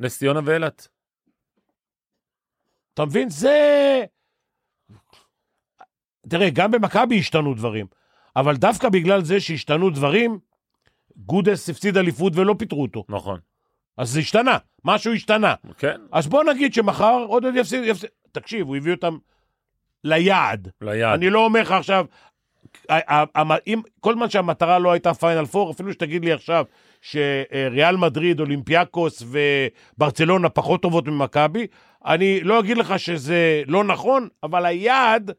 Speaker 2: נס ציונה ואילת.
Speaker 3: אתה מבין? זה... תראה, גם במכבי השתנו דברים, אבל דווקא בגלל זה שהשתנו דברים, גודס הפסיד אליפות ולא פיטרו אותו.
Speaker 2: נכון.
Speaker 3: אז זה השתנה, משהו השתנה.
Speaker 2: כן,
Speaker 3: אז בוא נגיד שמחר עודד יפסיד, יפסיד. תקשיב, הוא הביא אותם ליעד.
Speaker 2: ליעד.
Speaker 3: אני לא אומר לך עכשיו, ה- ה- ה- אם- כל זמן שהמטרה לא הייתה פיינל פור, אפילו שתגיד לי עכשיו שריאל מדריד, אולימפיאקוס וברצלונה פחות טובות ממכבי. אני לא אגיד לך שזה לא נכון, אבל היעד,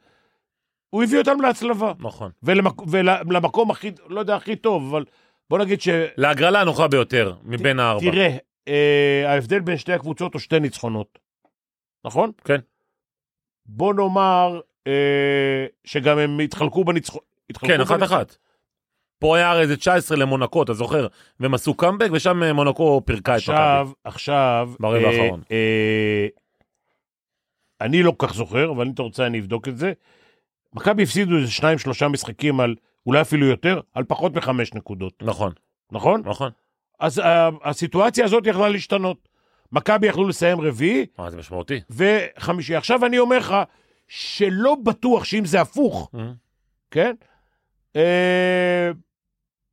Speaker 3: הוא הביא אותם להצלבה.
Speaker 2: נכון.
Speaker 3: ולמק... ולמקום הכי, לא יודע, הכי טוב, אבל בוא נגיד ש...
Speaker 2: להגרלה הנוחה ביותר מבין הארבע.
Speaker 3: תראה, אה, ההבדל בין שתי הקבוצות הוא שתי ניצחונות, נכון?
Speaker 2: כן.
Speaker 3: בוא נאמר אה, שגם הם התחלקו בניצחון.
Speaker 2: כן, אחת אחת. פה היה הרי איזה 19 למונקו, אתה זוכר? והם עשו קאמבק, ושם אה, מונקו פירקה את מכבי.
Speaker 3: עכשיו, עכשיו...
Speaker 2: ברבע
Speaker 3: אה,
Speaker 2: האחרון.
Speaker 3: אה, אני לא כל כך זוכר, אבל אם אתה רוצה אני אבדוק את זה. מכבי הפסידו איזה שניים, שלושה משחקים על, אולי אפילו יותר, על פחות מחמש נקודות,
Speaker 2: נכון,
Speaker 3: נכון?
Speaker 2: נכון.
Speaker 3: אז ה- הסיטואציה הזאת יכלה להשתנות. מכבי יכלו לסיים רביעי
Speaker 2: אה, זה משמעותי.
Speaker 3: וחמישי. עכשיו אני אומר לך, שלא בטוח שאם זה הפוך,
Speaker 2: אה,
Speaker 3: כן? אה,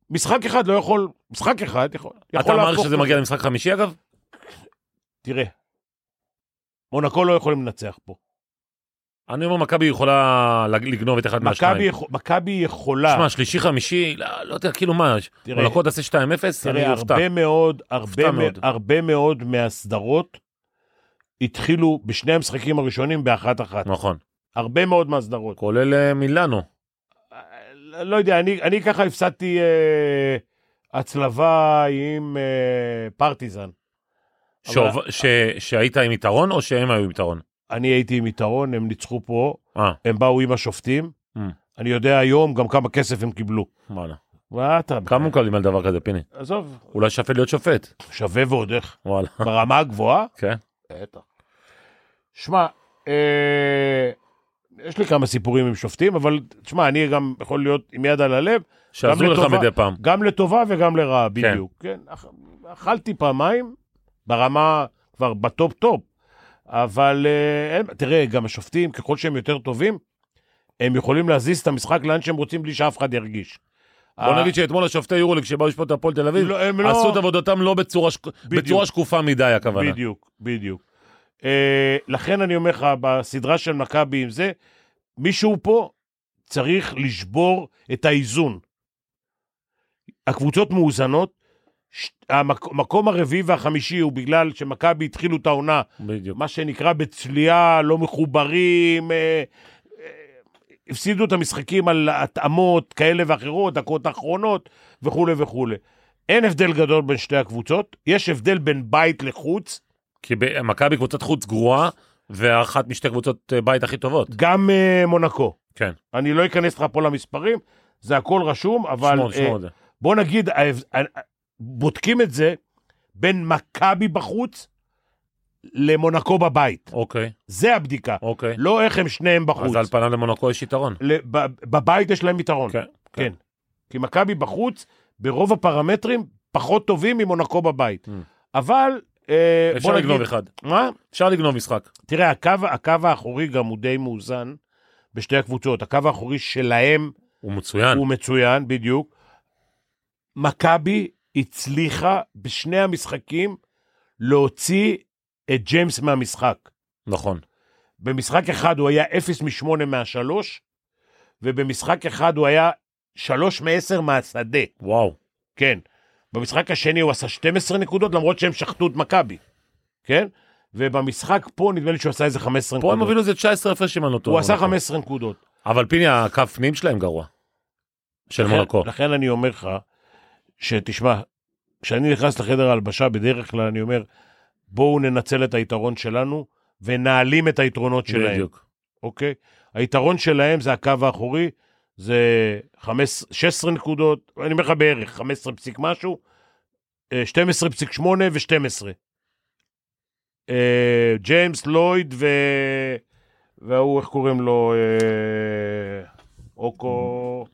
Speaker 3: משחק אחד לא יכול, משחק אחד יכול, יכול
Speaker 2: אתה מעריך
Speaker 3: להפוך-
Speaker 2: שזה מגיע למשחק חמישי אגב?
Speaker 3: תראה, מונקו לא יכולים לנצח פה.
Speaker 2: אני אומר, מכבי יכולה לג- לגנוב את אחד
Speaker 3: מכבי
Speaker 2: מהשניים.
Speaker 3: יכול- מכבי יכולה,
Speaker 2: שמע, שלישי חמישי, לא לא יודע, כאילו מה, ש-
Speaker 3: תראה,
Speaker 2: מונקו תעשה 2-0, אני
Speaker 3: תראה,
Speaker 2: אופתע.
Speaker 3: הרבה מאוד, הרבה, מא-
Speaker 2: מאוד.
Speaker 3: הרבה מאוד מהסדרות התחילו בשני המשחקים הראשונים באחת-אחת.
Speaker 2: נכון,
Speaker 3: הרבה מאוד מהסדרות.
Speaker 2: כולל אה, מילאנו.
Speaker 3: לא לא יודע, אני, אני ככה הפסדתי אה, הצלבה עם אה, פרטיזן.
Speaker 2: שאוב- ש- שהיית עם יתרון או שהם היו עם יתרון?
Speaker 3: אני הייתי עם יתרון, הם ניצחו פה,
Speaker 2: אה,
Speaker 3: הם באו עם השופטים.
Speaker 2: Mm.
Speaker 3: אני יודע היום גם כמה כסף הם קיבלו.
Speaker 2: וואלה.
Speaker 3: מה אתה...
Speaker 2: כמה מקבלים על דבר כזה, פיני?
Speaker 3: עזוב,
Speaker 2: אולי שווה להיות שופט.
Speaker 3: שווה ועוד איך.
Speaker 2: וואלה.
Speaker 3: ברמה הגבוהה?
Speaker 2: כן.
Speaker 3: בטח. שמע, אה, יש לי כמה סיפורים עם שופטים, אבל תשמע, אני גם יכול להיות עם יד על הלב,
Speaker 2: שעזרו לך
Speaker 3: לטובה.
Speaker 2: מדי פעם.
Speaker 3: גם לטובה וגם לרעה,
Speaker 2: כן.
Speaker 3: בדיוק. כן. אכ- אכלתי פעמיים, ברמה, כבר בטופ-טופ, אבל אה, אין- תראה, גם השופטים, ככל שהם יותר טובים, הם יכולים להזיז את המשחק לאן שהם רוצים בלי שאף אחד ירגיש.
Speaker 2: בוא נגיד שאתמול השופטי יורוליג שבאו לשפוט את הפועל תל אביב,
Speaker 3: אה, לא, הם לא-
Speaker 2: עשו את עבודתם לא בצורה שק-
Speaker 3: בדיוק.
Speaker 2: בצורה שקופה מדי, הכוונה.
Speaker 3: בדיוק, בדיוק. אה, לכן אני אומר לך, בסדרה של מכבי עם זה, מישהו פה צריך לשבור את האיזון. הקבוצות מאוזנות, ש- המק- המקום הרביעי והחמישי הוא בגלל שמכבי התחילו את העונה,
Speaker 2: בדיוק.
Speaker 3: מה שנקרא בצליעה, לא מחוברים, אה, אה, הפסידו את המשחקים על התאמות כאלה ואחרות, דקות אחרונות וכולי וכולי. אין הבדל גדול בין שתי הקבוצות, יש הבדל בין בית לחוץ,
Speaker 2: כי ב- מכבי קבוצת חוץ גרועה, ואחת משתי קבוצות אה, בית הכי טובות.
Speaker 3: גם אה, מונקו.
Speaker 2: כן.
Speaker 3: אני לא אכנס לך פה למספרים, זה הכל רשום, אבל
Speaker 2: שמור,
Speaker 3: אה,
Speaker 2: שמור את זה.
Speaker 3: בוא נגיד, ההבד- אה, אה, בודקים את זה בין מכבי בחוץ למונקו בבית.
Speaker 2: אוקיי,
Speaker 3: זה הבדיקה,
Speaker 2: אוקיי.
Speaker 3: לא אה, איך הם שניהם בחוץ.
Speaker 2: אז על פניו למונקו יש יתרון.
Speaker 3: ל- ב- בבית יש להם יתרון.
Speaker 2: כן, כן.
Speaker 3: כן. כי מכבי בחוץ, ברוב הפרמטרים, פחות טובים ממונקו בבית.
Speaker 2: Mm.
Speaker 3: אבל, אה,
Speaker 2: אפשר
Speaker 3: בוא
Speaker 2: לגנוב
Speaker 3: נגיד...
Speaker 2: אחד.
Speaker 3: מה?
Speaker 2: אפשר לגנוב משחק.
Speaker 3: תראה, הקו, הקו האחורי גם הוא די מאוזן בשתי הקבוצות. הקו האחורי שלהם
Speaker 2: הוא מצוין.
Speaker 3: הוא מצוין, בדיוק. מכבי הצליחה בשני המשחקים להוציא את ג'יימס מהמשחק.
Speaker 2: נכון.
Speaker 3: במשחק אחד הוא היה 0 מ-8 מהשלוש, ובמשחק אחד הוא היה 3 מ-10 מהשדה,
Speaker 2: וואו.
Speaker 3: כן. במשחק השני הוא עשה 12 נקודות, למרות שהם שחטו את מכבי, כן? ובמשחק פה נדמה לי שהוא עשה איזה 15
Speaker 2: פה
Speaker 3: נקודות.
Speaker 2: הם הובילו איזה 19 הפרש אם אני לא טועה.
Speaker 3: הוא עשה
Speaker 2: מונקו.
Speaker 3: 15 נקודות.
Speaker 2: אבל פיני, הקו פנים שלהם גרוע. של
Speaker 3: לכן-
Speaker 2: מונקו.
Speaker 3: לכן אני אומר לך, שתשמע, כשאני נכנס לחדר ההלבשה, בדרך כלל אני אומר, בואו ננצל את היתרון שלנו ונעלים את היתרונות שלהם,
Speaker 2: בדיוק.
Speaker 3: אוקיי? היתרון שלהם זה הקו האחורי, זה 15, 16 נקודות, אני אומר לך בערך, 15 פסיק משהו, אה, 12 פסיק 8 ו-12. אה, ג'יימס, לויד ו... וההוא, איך קוראים לו? אה, אוקו...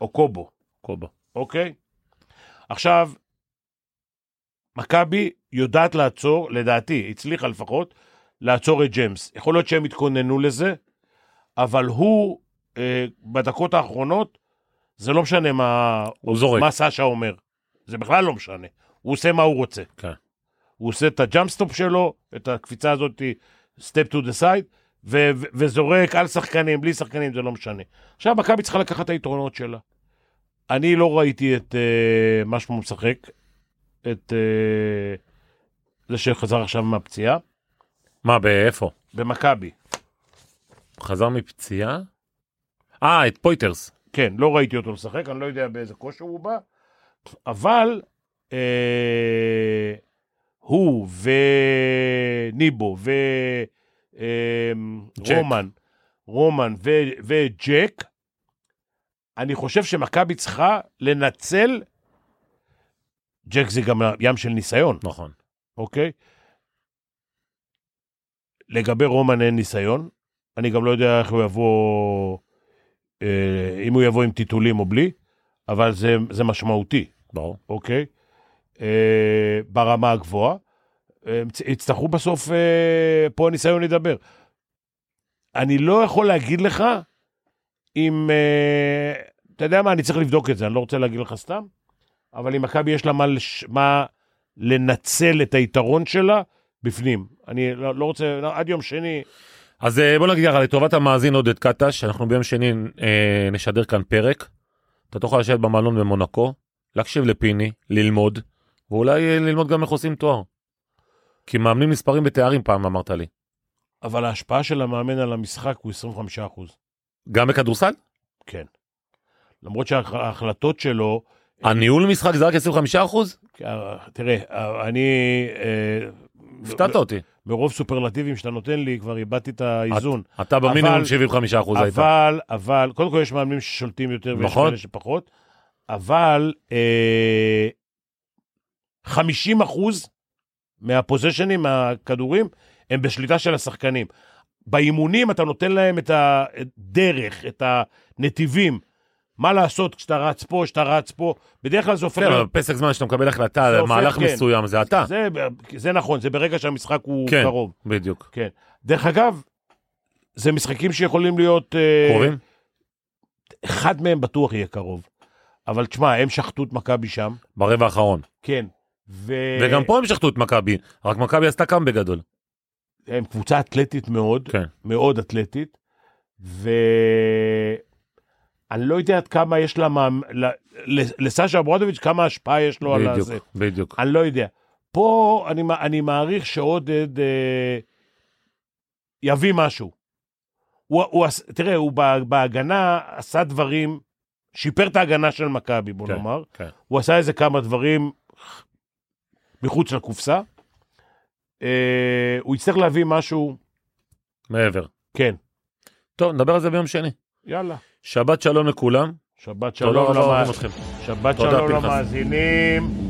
Speaker 3: אוקובו.
Speaker 2: קובה.
Speaker 3: אוקיי? עכשיו, מכבי יודעת לעצור, לדעתי, הצליחה לפחות, לעצור את ג'מס. יכול להיות שהם התכוננו לזה, אבל הוא, אה, בדקות האחרונות, זה לא משנה מה,
Speaker 2: הוא זורק.
Speaker 3: מה סשה אומר. זה בכלל לא משנה. הוא עושה מה הוא רוצה.
Speaker 2: כן.
Speaker 3: הוא עושה את הג'אמפסטופ שלו, את הקפיצה הזאת, step to the side, ו- ו- וזורק על שחקנים, בלי שחקנים, זה לא משנה. עכשיו, מכבי צריכה לקחת את היתרונות שלה. אני לא ראיתי את אה, מה שהוא משחק, את אה, זה שחזר עכשיו מהפציעה,
Speaker 2: מה, באיפה?
Speaker 3: במכבי.
Speaker 2: חזר מפציעה? אה, את פויטרס.
Speaker 3: כן, לא ראיתי אותו משחק, אני לא יודע באיזה כושר הוא בא, אבל אה, הוא וניבו
Speaker 2: ג'ק.
Speaker 3: ורומן, רומן ו, וג'ק, אני חושב שמכבי צריכה לנצל, ג'ק זה גם ים של ניסיון,
Speaker 2: נכון.
Speaker 3: אוקיי? לגבי רומן אין ניסיון, אני גם לא יודע איך הוא יבוא, אה, אם הוא יבוא עם טיטולים או בלי, אבל זה, זה משמעותי,
Speaker 2: ברור.
Speaker 3: אוקיי? אה, ברמה הגבוהה. אה, הם צ- יצטרכו בסוף, אה, פה הניסיון לדבר. אני לא יכול להגיד לך אם, אה, אתה יודע מה, אני צריך לבדוק את זה, אני לא רוצה להגיד לך סתם, אבל אם מכבי יש לה מה, לש- מה לנצל את היתרון שלה, בפנים. אני לא, לא רוצה, לא, עד יום שני,
Speaker 2: אז אה, בוא נגיד ככה, לטובת המאזין עודד קטש, אנחנו ביום שני אה, נשדר כאן פרק. אתה תוכל לשבת במלון במונקו, להקשיב לפיני, ללמוד, ואולי אה, ללמוד גם איך עושים תואר. כי מאמנים נספרים בתארים פעם אמרת לי.
Speaker 3: אבל ההשפעה של המאמן על המשחק הוא 25%.
Speaker 2: גם בכדורסל?
Speaker 3: כן. למרות שההחלטות שלו,
Speaker 2: הניהול משחק זה רק 25%?
Speaker 3: אה, תראה, אה, אני, אה,
Speaker 2: הפתעת אותי.
Speaker 3: ברוב סופרלטיבים שאתה נותן לי, כבר איבדתי את האיזון.
Speaker 2: אתה במינימום
Speaker 3: אבל-
Speaker 2: 75% היית.
Speaker 3: אבל, אבל, קודם כל יש מאמנים ששולטים יותר ויש
Speaker 2: נכון.
Speaker 3: כאלה שפחות, אבל אה, 50 אחוז מהפוזיישנים, מהכדורים, הם בשליטה של השחקנים. באימונים אתה נותן להם את הדרך, את הנתיבים, מה לעשות כשאתה רץ פה, כשאתה רץ פה, בדרך כלל זה הופך...
Speaker 2: כן, אבל
Speaker 3: להיות-
Speaker 2: בפסק זמן שאתה מקבל החלטה
Speaker 3: זה
Speaker 2: על
Speaker 3: הופך,
Speaker 2: מהלך
Speaker 3: כן.
Speaker 2: מסוים, זה אתה.
Speaker 3: זה, זה נכון, זה ברגע שהמשחק הוא
Speaker 2: כן.
Speaker 3: קרוב.
Speaker 2: בדיוק.
Speaker 3: דרך אגב, זה משחקים שיכולים להיות... אה,
Speaker 2: קרובים?
Speaker 3: אחד מהם בטוח יהיה קרוב. אבל תשמע, הם שחטו את מכבי שם.
Speaker 2: ברבע האחרון.
Speaker 3: כן. ו...
Speaker 2: וגם פה הם שחטו את מכבי, רק מכבי עשתה קאם בגדול.
Speaker 3: הם קבוצה אתלטית מאוד,
Speaker 2: כן.
Speaker 3: מאוד אתלטית, ואני לא יודע עד כמה יש לה, מה... ל... ל- לסשה אברודוביץ', כמה השפעה יש לו לא על
Speaker 2: בדיוק,
Speaker 3: הזה.
Speaker 2: בדיוק.
Speaker 3: אני לא יודע. פה אני, מע- אני מעריך שעודד אה, יביא משהו. הוא, הוא, עש- תראה, הוא בה- בהגנה עשה דברים, שיפר את ההגנה של מכבי, בוא
Speaker 2: כן,
Speaker 3: נאמר.
Speaker 2: כן.
Speaker 3: הוא עשה איזה כמה דברים מחוץ לקופסה. אה, הוא יצטרך להביא משהו,
Speaker 2: מעבר.
Speaker 3: כן,
Speaker 2: טוב, נדבר על זה ביום שני.
Speaker 3: יאללה.
Speaker 2: שבת שלום לכולם.
Speaker 3: שבת
Speaker 2: תודה
Speaker 3: שלום
Speaker 2: רבה, אוהבים
Speaker 3: למאזינים.
Speaker 2: אתכם.
Speaker 3: שבת
Speaker 2: לא, תודה,
Speaker 3: שלום
Speaker 2: פנחס.
Speaker 3: למאזינים.